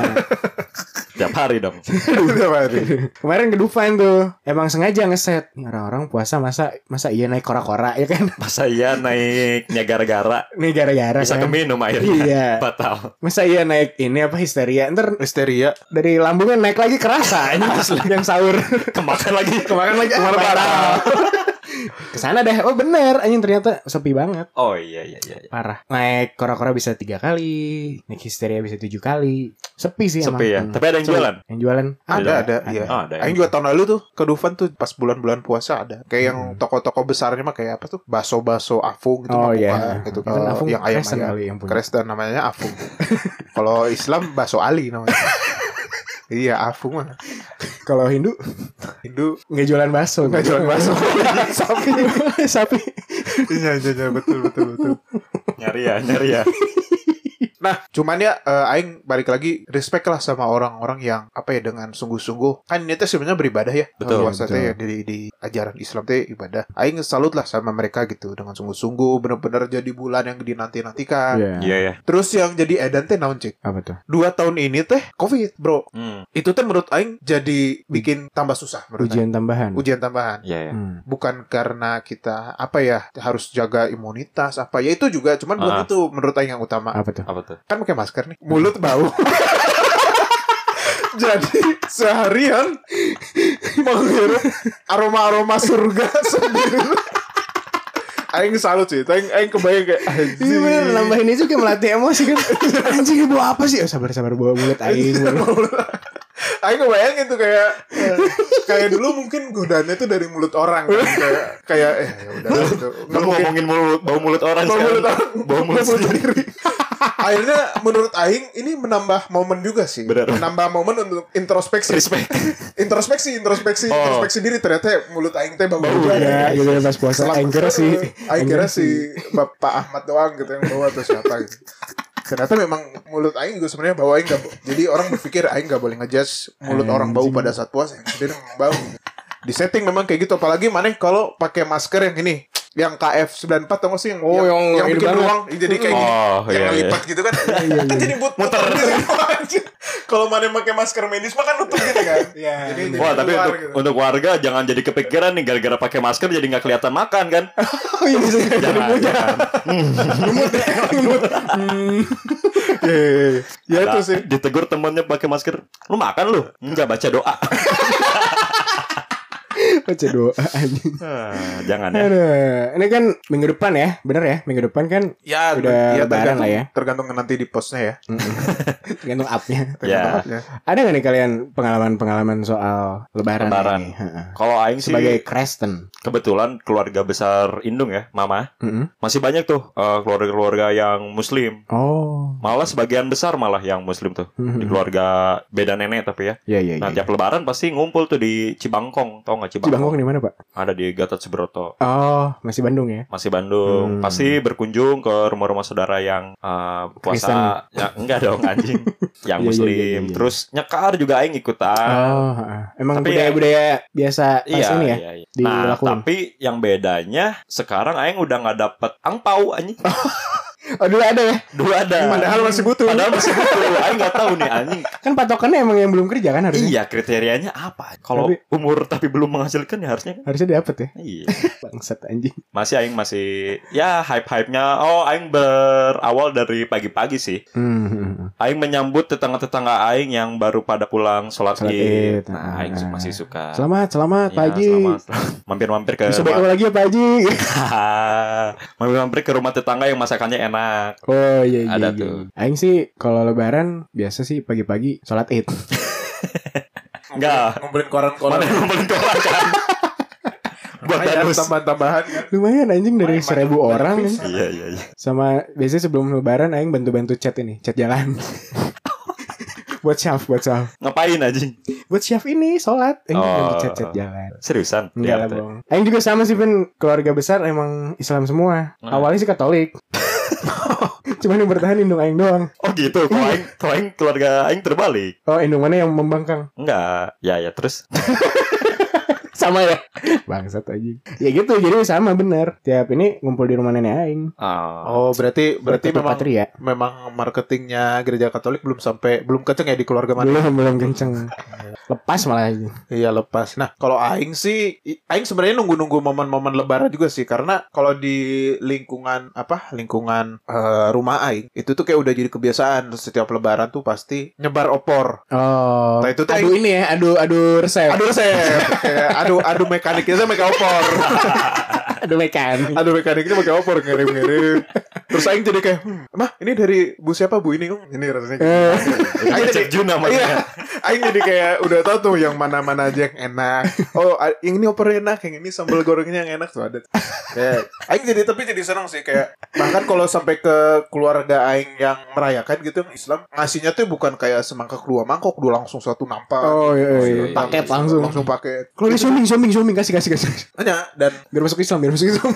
Speaker 3: Tiap hari dong.
Speaker 1: Udah mati.
Speaker 2: Kemarin ke Dufan tuh emang sengaja ngeset Nih orang-orang puasa masa masa iya naik kora-kora ya kan.
Speaker 3: Masa iya naiknya gara-gara
Speaker 2: Nih gara-gara
Speaker 3: bisa
Speaker 2: kan.
Speaker 3: keminum
Speaker 1: ya.
Speaker 3: akhirnya.
Speaker 2: Iya.
Speaker 3: Batal.
Speaker 2: Masa iya naik ini apa histeria Ntar
Speaker 1: Listeria.
Speaker 2: dari lambungnya naik lagi kerasa ini pas lagi yang sahur
Speaker 3: Kemakan lagi.
Speaker 1: Kemarin lagi kemarin
Speaker 2: batal. Kesana deh Oh bener Anjing ternyata sepi banget
Speaker 3: Oh iya iya iya. iya.
Speaker 2: Parah Naik kora-kora bisa tiga kali Naik histeria bisa tujuh kali Sepi sih emang
Speaker 3: Sepi ya.
Speaker 2: Hmm.
Speaker 3: Tapi ada yang
Speaker 2: Sepi.
Speaker 3: jualan.
Speaker 2: Yang jualan
Speaker 1: Ada ada iya.
Speaker 3: Ah, ada.
Speaker 1: Aing juga tahun lalu tuh ke Dufan tuh pas bulan-bulan puasa ada. Kayak yang toko-toko besarnya mah kayak apa tuh? Baso-baso Afung gitu mah
Speaker 2: Hmm. Oh
Speaker 1: buka
Speaker 2: iya
Speaker 1: gitu.
Speaker 2: Itu kan
Speaker 1: Kalau
Speaker 2: Afung
Speaker 1: yang ayam
Speaker 2: Kristen
Speaker 1: ayam.
Speaker 2: kali yang punya
Speaker 1: Kristen namanya Afung. Kalau Islam Baso Ali namanya. Iya, Afung mah.
Speaker 2: Kalau Hindu
Speaker 1: Hindu
Speaker 2: nggak jualan bakso
Speaker 1: nggak jualan bakso.
Speaker 2: Sapi Sapi
Speaker 1: Iya, iya, iya, betul, betul, betul.
Speaker 3: Nyari ya, nyari ya.
Speaker 1: Nah, cuman ya eh, aing balik lagi respect lah sama orang-orang yang apa ya dengan sungguh-sungguh. Kan ini teh sebenarnya beribadah ya.
Speaker 3: Betul,
Speaker 1: Puasa
Speaker 2: betul.
Speaker 1: teh ya di di ajaran Islam teh ibadah. Aing salut lah sama mereka gitu dengan sungguh-sungguh bener-bener jadi bulan yang dinanti-nantikan.
Speaker 3: Iya ya.
Speaker 1: Terus yang jadi edan teh naon cek?
Speaker 2: Apa tuh
Speaker 1: Dua tahun ini teh Covid, Bro.
Speaker 3: Hmm.
Speaker 1: Itu teh menurut aing jadi bikin tambah susah menurut
Speaker 2: Ujian tambahan
Speaker 1: aing. Ujian tambahan.
Speaker 3: Iya ya.
Speaker 2: Hmm.
Speaker 1: bukan karena kita apa ya harus jaga imunitas apa ya itu juga cuman bukan
Speaker 3: Ah.
Speaker 1: itu menurut aing yang utama
Speaker 2: Apa tuh
Speaker 3: Apa tuh?
Speaker 1: kan pakai masker nih mulut bau jadi seharian menghirup aroma aroma surga sendiri Aing salut sih. Aing aing kebayang kayak
Speaker 2: Iya
Speaker 1: anjing.
Speaker 2: bener nambahin itu kayak melatih emosi kan Anjing bawa apa sih oh, Sabar sabar bawa mulut aing
Speaker 1: Aing kebayangin tuh kayak eh, kayak dulu mungkin godaannya tuh dari mulut orang kan. kayak kayak eh ya udah lah gitu. Nggak
Speaker 3: Lu
Speaker 1: mungkin
Speaker 3: ngomongin mulut, bau mulut orang
Speaker 1: Bau
Speaker 3: sekarang.
Speaker 1: mulut orang.
Speaker 3: Bau mulut sendiri.
Speaker 1: akhirnya menurut aing ini menambah momen juga sih.
Speaker 3: Benar.
Speaker 1: Menambah momen untuk introspeksi.
Speaker 3: Respect.
Speaker 1: Introspeksi, introspeksi,
Speaker 3: Oh.
Speaker 1: introspeksi diri ternyata mulut aing teh bau juga.
Speaker 2: Ya gitu ya pas puasa
Speaker 1: Selang-
Speaker 2: Aing kira sih
Speaker 1: Aing kira si Bapak Ahmad doang gitu yang bawa atau siapa gitu. Ternyata memang mulut Aing juga sebenarnya bau Aing gak bo- Jadi orang berpikir Aing gak boleh ngejudge mulut orang bau pada saat puasa yang sendiri memang bau. gitu. Di setting memang kayak gitu. Apalagi mana kalau pakai masker yang ini. Yang KF94 tau gak sih? Yang,
Speaker 2: Oh, yang
Speaker 1: yang
Speaker 2: ini
Speaker 1: bikin
Speaker 2: banget.
Speaker 1: ruang. Jadi kayak gini.
Speaker 3: Oh,
Speaker 1: yang
Speaker 3: iya,
Speaker 1: ngelipat gitu kan. kan jadi but muter. kalau mana pakai masker medis mah kan nutup gitu kan.
Speaker 2: Iya.
Speaker 1: Jadi, jadi
Speaker 3: Wah, tapi
Speaker 1: keluar
Speaker 3: untuk,
Speaker 1: gitu.
Speaker 3: untuk warga jangan jadi kepikiran nih gara-gara pakai masker jadi nggak kelihatan makan kan?
Speaker 2: Oh iya bisa jadi
Speaker 3: Jangan. jangan.
Speaker 2: ya.
Speaker 1: Iya, iya, iya. Ya itu sih.
Speaker 3: Ditegur temennya pakai masker, lu makan lu? Enggak baca doa.
Speaker 2: Baca doa anjing
Speaker 3: Ah, jangan ya.
Speaker 2: Aduh, ini kan minggu depan ya, bener ya? Minggu depan kan
Speaker 1: Ya,
Speaker 2: Udah lebaran
Speaker 1: tergantung,
Speaker 2: lah ya.
Speaker 1: Tergantung nanti di postnya ya.
Speaker 2: gantung upnya.
Speaker 3: Ya.
Speaker 1: Tergantung upnya.
Speaker 2: Ada nggak nih kalian pengalaman-pengalaman soal Lebaran?
Speaker 3: Lebaran.
Speaker 2: ini? Heeh.
Speaker 3: Kalau Aing sih
Speaker 2: Sebagai Kristen.
Speaker 3: kebetulan keluarga besar Indung ya, Mama.
Speaker 2: Mm-mm.
Speaker 3: Masih banyak tuh eh, keluarga-keluarga yang Muslim.
Speaker 2: Oh,
Speaker 3: Malah sebagian besar malah yang Muslim tuh di keluarga beda nenek tapi ya.
Speaker 2: iya iya.
Speaker 3: Nah
Speaker 2: iya.
Speaker 3: tiap Lebaran pasti ngumpul tuh di Cibangkong, tau nggak Cibangkong?
Speaker 2: Cibangkok di mana pak?
Speaker 3: Ada di Gatot Subroto,
Speaker 2: Oh, masih Bandung ya?
Speaker 3: masih Bandung.
Speaker 2: Hmm.
Speaker 3: Pasti berkunjung ke rumah-rumah saudara yang eh, puasa. Ya, enggak dong anjing,
Speaker 2: Iya, iya,
Speaker 3: yang Muslim.
Speaker 2: iya, iya.
Speaker 3: Terus nyekar juga Aing ikutan.
Speaker 2: oh, heeh. emang
Speaker 3: Ah. tapi ya-
Speaker 2: budaya-budaya biasa pas
Speaker 3: Iya,
Speaker 2: ini ya?
Speaker 3: iya, iya. Nah,
Speaker 2: dilakuin.
Speaker 3: tapi yang bedanya sekarang Aing udah nggak dapet angpau anjing.
Speaker 2: Ah, Oh dulu ada ya?
Speaker 3: Dua ada.
Speaker 1: Padahal masih butuh.
Speaker 3: Iya. Padahal masih butuh. Aing nggak tahu nih anjing.
Speaker 2: Kan patokannya emang yang belum kerja kan harusnya?
Speaker 3: Iya kriterianya apa? Kalau
Speaker 2: Tapi-
Speaker 3: umur tapi belum menghasilkan ya harusnya kan.
Speaker 2: Harusnya dapat ya?
Speaker 3: Iya.
Speaker 2: Bangsat anjing.
Speaker 3: Masih Aing masih ya hype-hype-nya. Oh Aing berawal dari pagi-pagi sih.
Speaker 2: Hmm.
Speaker 3: Aing menyambut tetangga-tetangga Aing yang baru pada pulang sholat
Speaker 2: Sholat Id.
Speaker 3: id. Nah, Aing su- masih suka.
Speaker 2: Selamat, selamat
Speaker 3: Iya,
Speaker 2: Pak Haji.
Speaker 3: selamat, selamat. Mampir-mampir ke
Speaker 2: Bisa
Speaker 3: rumah.
Speaker 2: BO lagi ya Pak Haji.
Speaker 3: Mampir-mampir ke rumah tetangga yang masakannya enak.
Speaker 2: Oh iya iya.
Speaker 3: Ada
Speaker 2: iya.
Speaker 3: tuh.
Speaker 2: Aing sih kalau lebaran biasa sih pagi-pagi sholat id.
Speaker 3: Enggak.
Speaker 1: Ngumpulin koran-koran.
Speaker 3: Mana yang ngumpulin koran kan? Buat
Speaker 1: Lumayan,
Speaker 3: danus.
Speaker 1: tambahan-tambahan kan.
Speaker 2: Lumayan anjing dari
Speaker 1: Lumayan,
Speaker 2: seribu
Speaker 1: banyak
Speaker 2: orang
Speaker 1: banget.
Speaker 2: ya.
Speaker 3: Iya iya iya.
Speaker 2: Sama biasanya sebelum lebaran aing bantu-bantu chat ini, chat jalan. buat syaf, buat syaf.
Speaker 3: Ngapain anjing?
Speaker 2: Buat syaf ini sholat, aing
Speaker 3: Oh. Iya,
Speaker 2: bantu chat-chat jalan.
Speaker 3: Seriusan?
Speaker 2: Enggak lah
Speaker 3: Lihat,
Speaker 2: bohong. Aing juga sama sih Ben Keluarga besar emang Islam semua
Speaker 3: Nah.
Speaker 2: Awalnya sih Katolik Cuman yang bertahan Indung Aing doang
Speaker 3: Oh gitu, kalau aing, kalau aing keluarga aing terbalik.
Speaker 2: Oh Indung mana yang membangkang
Speaker 3: Enggak. Ya ya terus.
Speaker 2: Sama ya Bangsat aja Ya gitu jadi sama bener Tiap ini ngumpul di rumah nenek Aing
Speaker 1: Oh,
Speaker 3: Oh.
Speaker 1: berarti berarti
Speaker 2: Bertutur
Speaker 1: memang
Speaker 2: patria.
Speaker 1: memang marketingnya gereja Katolik belum sampai belum kenceng ya di keluarga mana?
Speaker 2: Belum belum kenceng Lepas malah aja
Speaker 1: Iya lepas. Nah, kalau Aing sih, i- Aing sebenarnya nunggu-nunggu momen-momen Lebaran juga sih, karena kalau di lingkungan apa lingkungan eh, rumah Aing itu tuh kayak udah jadi kebiasaan setiap Lebaran tuh pasti nyebar opor.
Speaker 2: Oh
Speaker 1: Nah, itu tuh
Speaker 2: Aduh ini ya Aduh aduh
Speaker 3: Eh.
Speaker 2: resep
Speaker 1: Aduh resep, Kayak aduh aduh mekaniknya saya pakai opor.
Speaker 2: Aduh mekan
Speaker 1: Aduh mekaniknya pakai opor ngirim-ngirim. Terus Aing jadi kayak, hmm, mah ini dari bu siapa bu ini? Hmm, Ini rasanya. kayak
Speaker 2: Eh,
Speaker 1: Aing
Speaker 3: Cek Juna
Speaker 1: Iya,
Speaker 3: namanya.
Speaker 1: Aing jadi kayak udah tahu tuh yang mana-mana aja yang enak. Oh, a- yang ini oper enak, yang ini sambal gorengnya yang enak tuh ada. Kayak, Aing jadi tapi jadi senang sih kayak bahkan kalau sampai ke keluarga Aing yang merayakan gitu yang Islam ngasihnya tuh bukan kayak semangka kedua mangkok dulu langsung satu nampak.
Speaker 2: Oh iya, iya, iya.
Speaker 3: Paket
Speaker 2: langsung.
Speaker 1: langsung paket.
Speaker 2: Kalau ini zooming zooming zooming kasih kasih kasih
Speaker 1: Hanya dan
Speaker 2: biar masuk Islam biar masuk Islam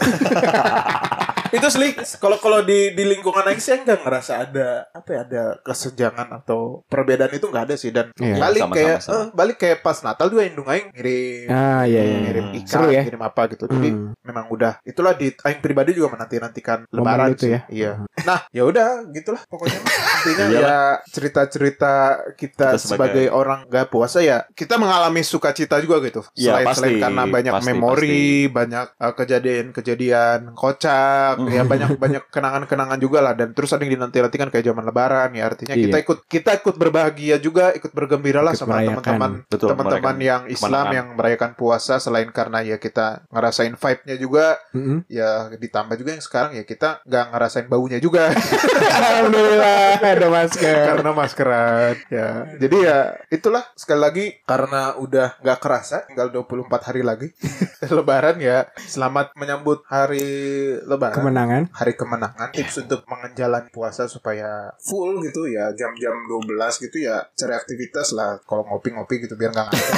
Speaker 1: itu selik kalau kalau di di lingkungan Aing sih enggak ngerasa ada apa ya ada kesenjangan atau perbedaan itu nggak ada sih dan
Speaker 2: Iya,
Speaker 1: balik
Speaker 3: sama-sama,
Speaker 1: kayak
Speaker 3: sama.
Speaker 1: eh, balik kayak pas Natal juga Indung Aing ngirim
Speaker 2: Ah iya iya
Speaker 1: ngirim
Speaker 3: Hmm.
Speaker 1: ikan,
Speaker 2: Seru ya.
Speaker 1: ngirim apa gitu. Jadi
Speaker 2: Hmm.
Speaker 1: memang udah itulah di aing pribadi juga menanti nantikan
Speaker 2: Momen
Speaker 1: lebaran
Speaker 2: itu
Speaker 1: sih.
Speaker 2: ya.
Speaker 1: Iya. Nah, ya udah gitulah pokoknya. Intinya ya
Speaker 3: Iyalah.
Speaker 1: cerita-cerita kita,
Speaker 3: Kita
Speaker 1: sebagai
Speaker 3: sebagai-
Speaker 1: orang gak puasa ya kita mengalami sukacita juga gitu.
Speaker 3: Iya,
Speaker 1: selain
Speaker 3: pasti,
Speaker 1: selain karena banyak
Speaker 3: pasti, Mm.
Speaker 1: memori, banyak uh, kejadian-kejadian kocak ya banyak banyak kenangan-kenangan juga lah dan terus ada yang dinanti-nanti kan kayak zaman lebaran ya artinya
Speaker 2: Iya.
Speaker 1: kita ikut kita ikut berbahagia juga ikut bergembira lah
Speaker 2: Ikut
Speaker 1: sama
Speaker 2: merayakan.
Speaker 1: teman-teman
Speaker 3: Betul,
Speaker 1: teman-teman ya.
Speaker 3: merayakan
Speaker 1: yang Islam
Speaker 3: kemenangan.
Speaker 1: yang merayakan puasa selain karena ya kita ngerasain vibe-nya juga
Speaker 2: Mm-mm.
Speaker 1: ya ditambah juga yang sekarang ya kita nggak ngerasain baunya juga
Speaker 2: Alhamdulillah ada masker.
Speaker 1: karena maskeran ya jadi ya itulah sekali lagi karena udah nggak kerasa tinggal 24 hari lagi lebaran ya selamat menyambut hari lebaran
Speaker 2: Kemenangan.
Speaker 1: hari kemenangan tips untuk mengejalan puasa supaya full gitu ya jam-jam 12 gitu ya cari aktivitas lah kalau ngopi-ngopi gitu biar nggak ngantuk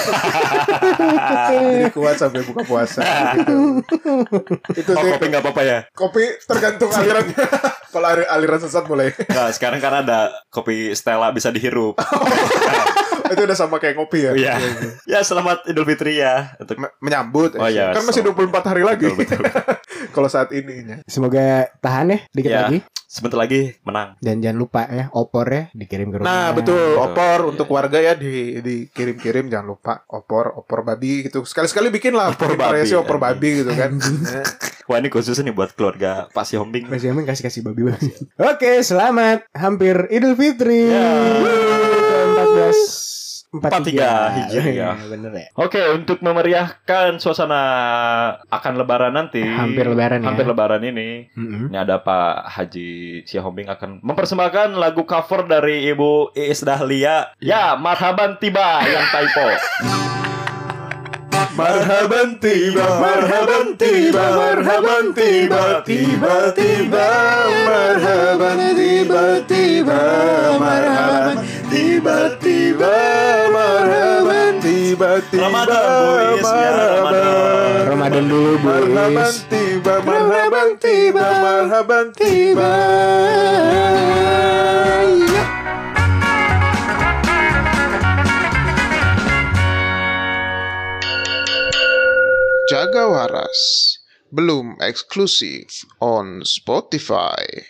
Speaker 1: jadi kuat sampai buka puasa gitu
Speaker 2: Iya.
Speaker 1: itu
Speaker 3: Oh,
Speaker 1: sih
Speaker 3: kopi nggak apa-apa ya?
Speaker 1: kopi tergantung alirannya kalau ali- aliran sesat mulai
Speaker 3: Nah, sekarang karena ada kopi Stella bisa dihirup.
Speaker 1: itu udah sama kayak ngopi ya
Speaker 3: Iya. ya, selamat Idul Fitri ya. Untuk
Speaker 1: Me- menyambut
Speaker 3: Oh, iya.
Speaker 1: kan masih 24 hari lagi
Speaker 3: Betul, betul.
Speaker 1: kalau saat ininya
Speaker 2: Semoga tahan ya dikit
Speaker 3: Ya.
Speaker 2: lagi.
Speaker 3: Sebentar lagi menang.
Speaker 2: Dan jangan lupa ya opornya dikirim ke rumah.
Speaker 1: nah betul
Speaker 3: Betul.
Speaker 1: opor
Speaker 3: Iya,
Speaker 1: untuk
Speaker 3: iya.
Speaker 1: warga ya di dikirim-kirim jangan lupa opor opor babi gitu sekali-sekali bikin lah
Speaker 3: Opor
Speaker 1: bikin variasi
Speaker 3: babi, ya.
Speaker 1: opor
Speaker 3: anjing.
Speaker 1: babi gitu kan
Speaker 3: Wah, ini khusus nih buat keluarga Pak Si Hombing.
Speaker 2: Mas Yamin kasih kasih babi babi. Oke, selamat hampir Idul Fitri.
Speaker 3: Ya.
Speaker 2: Empat belas empat
Speaker 3: 43 Hijriah.
Speaker 2: Bener ya.
Speaker 3: Oke, untuk memeriahkan suasana akan lebaran nanti.
Speaker 2: Hampir Lebaran ya.
Speaker 3: Hampir lebaran ini.
Speaker 1: Hmm.
Speaker 2: Mm-mm.
Speaker 3: Ini ada Pak Haji Sihombing akan mempersembahkan lagu cover dari Ibu
Speaker 1: Iya.
Speaker 3: Iis Dahlia. Ya, marhaban tiba yang typo.
Speaker 1: Marhaban tiba, marhaban tiba, marhaban tiba, tiba tiba, marhaban tiba tiba, marhaban tiba tiba, marhaban tiba tiba,
Speaker 3: Ramadan, Bu Is, ya, Ramadan.
Speaker 2: Ramadan dulu, Bu
Speaker 1: Marhaban
Speaker 2: Is.
Speaker 1: tiba, marhaban tiba, marhaban tiba. Jaga waras, belum eksklusif on Spotify.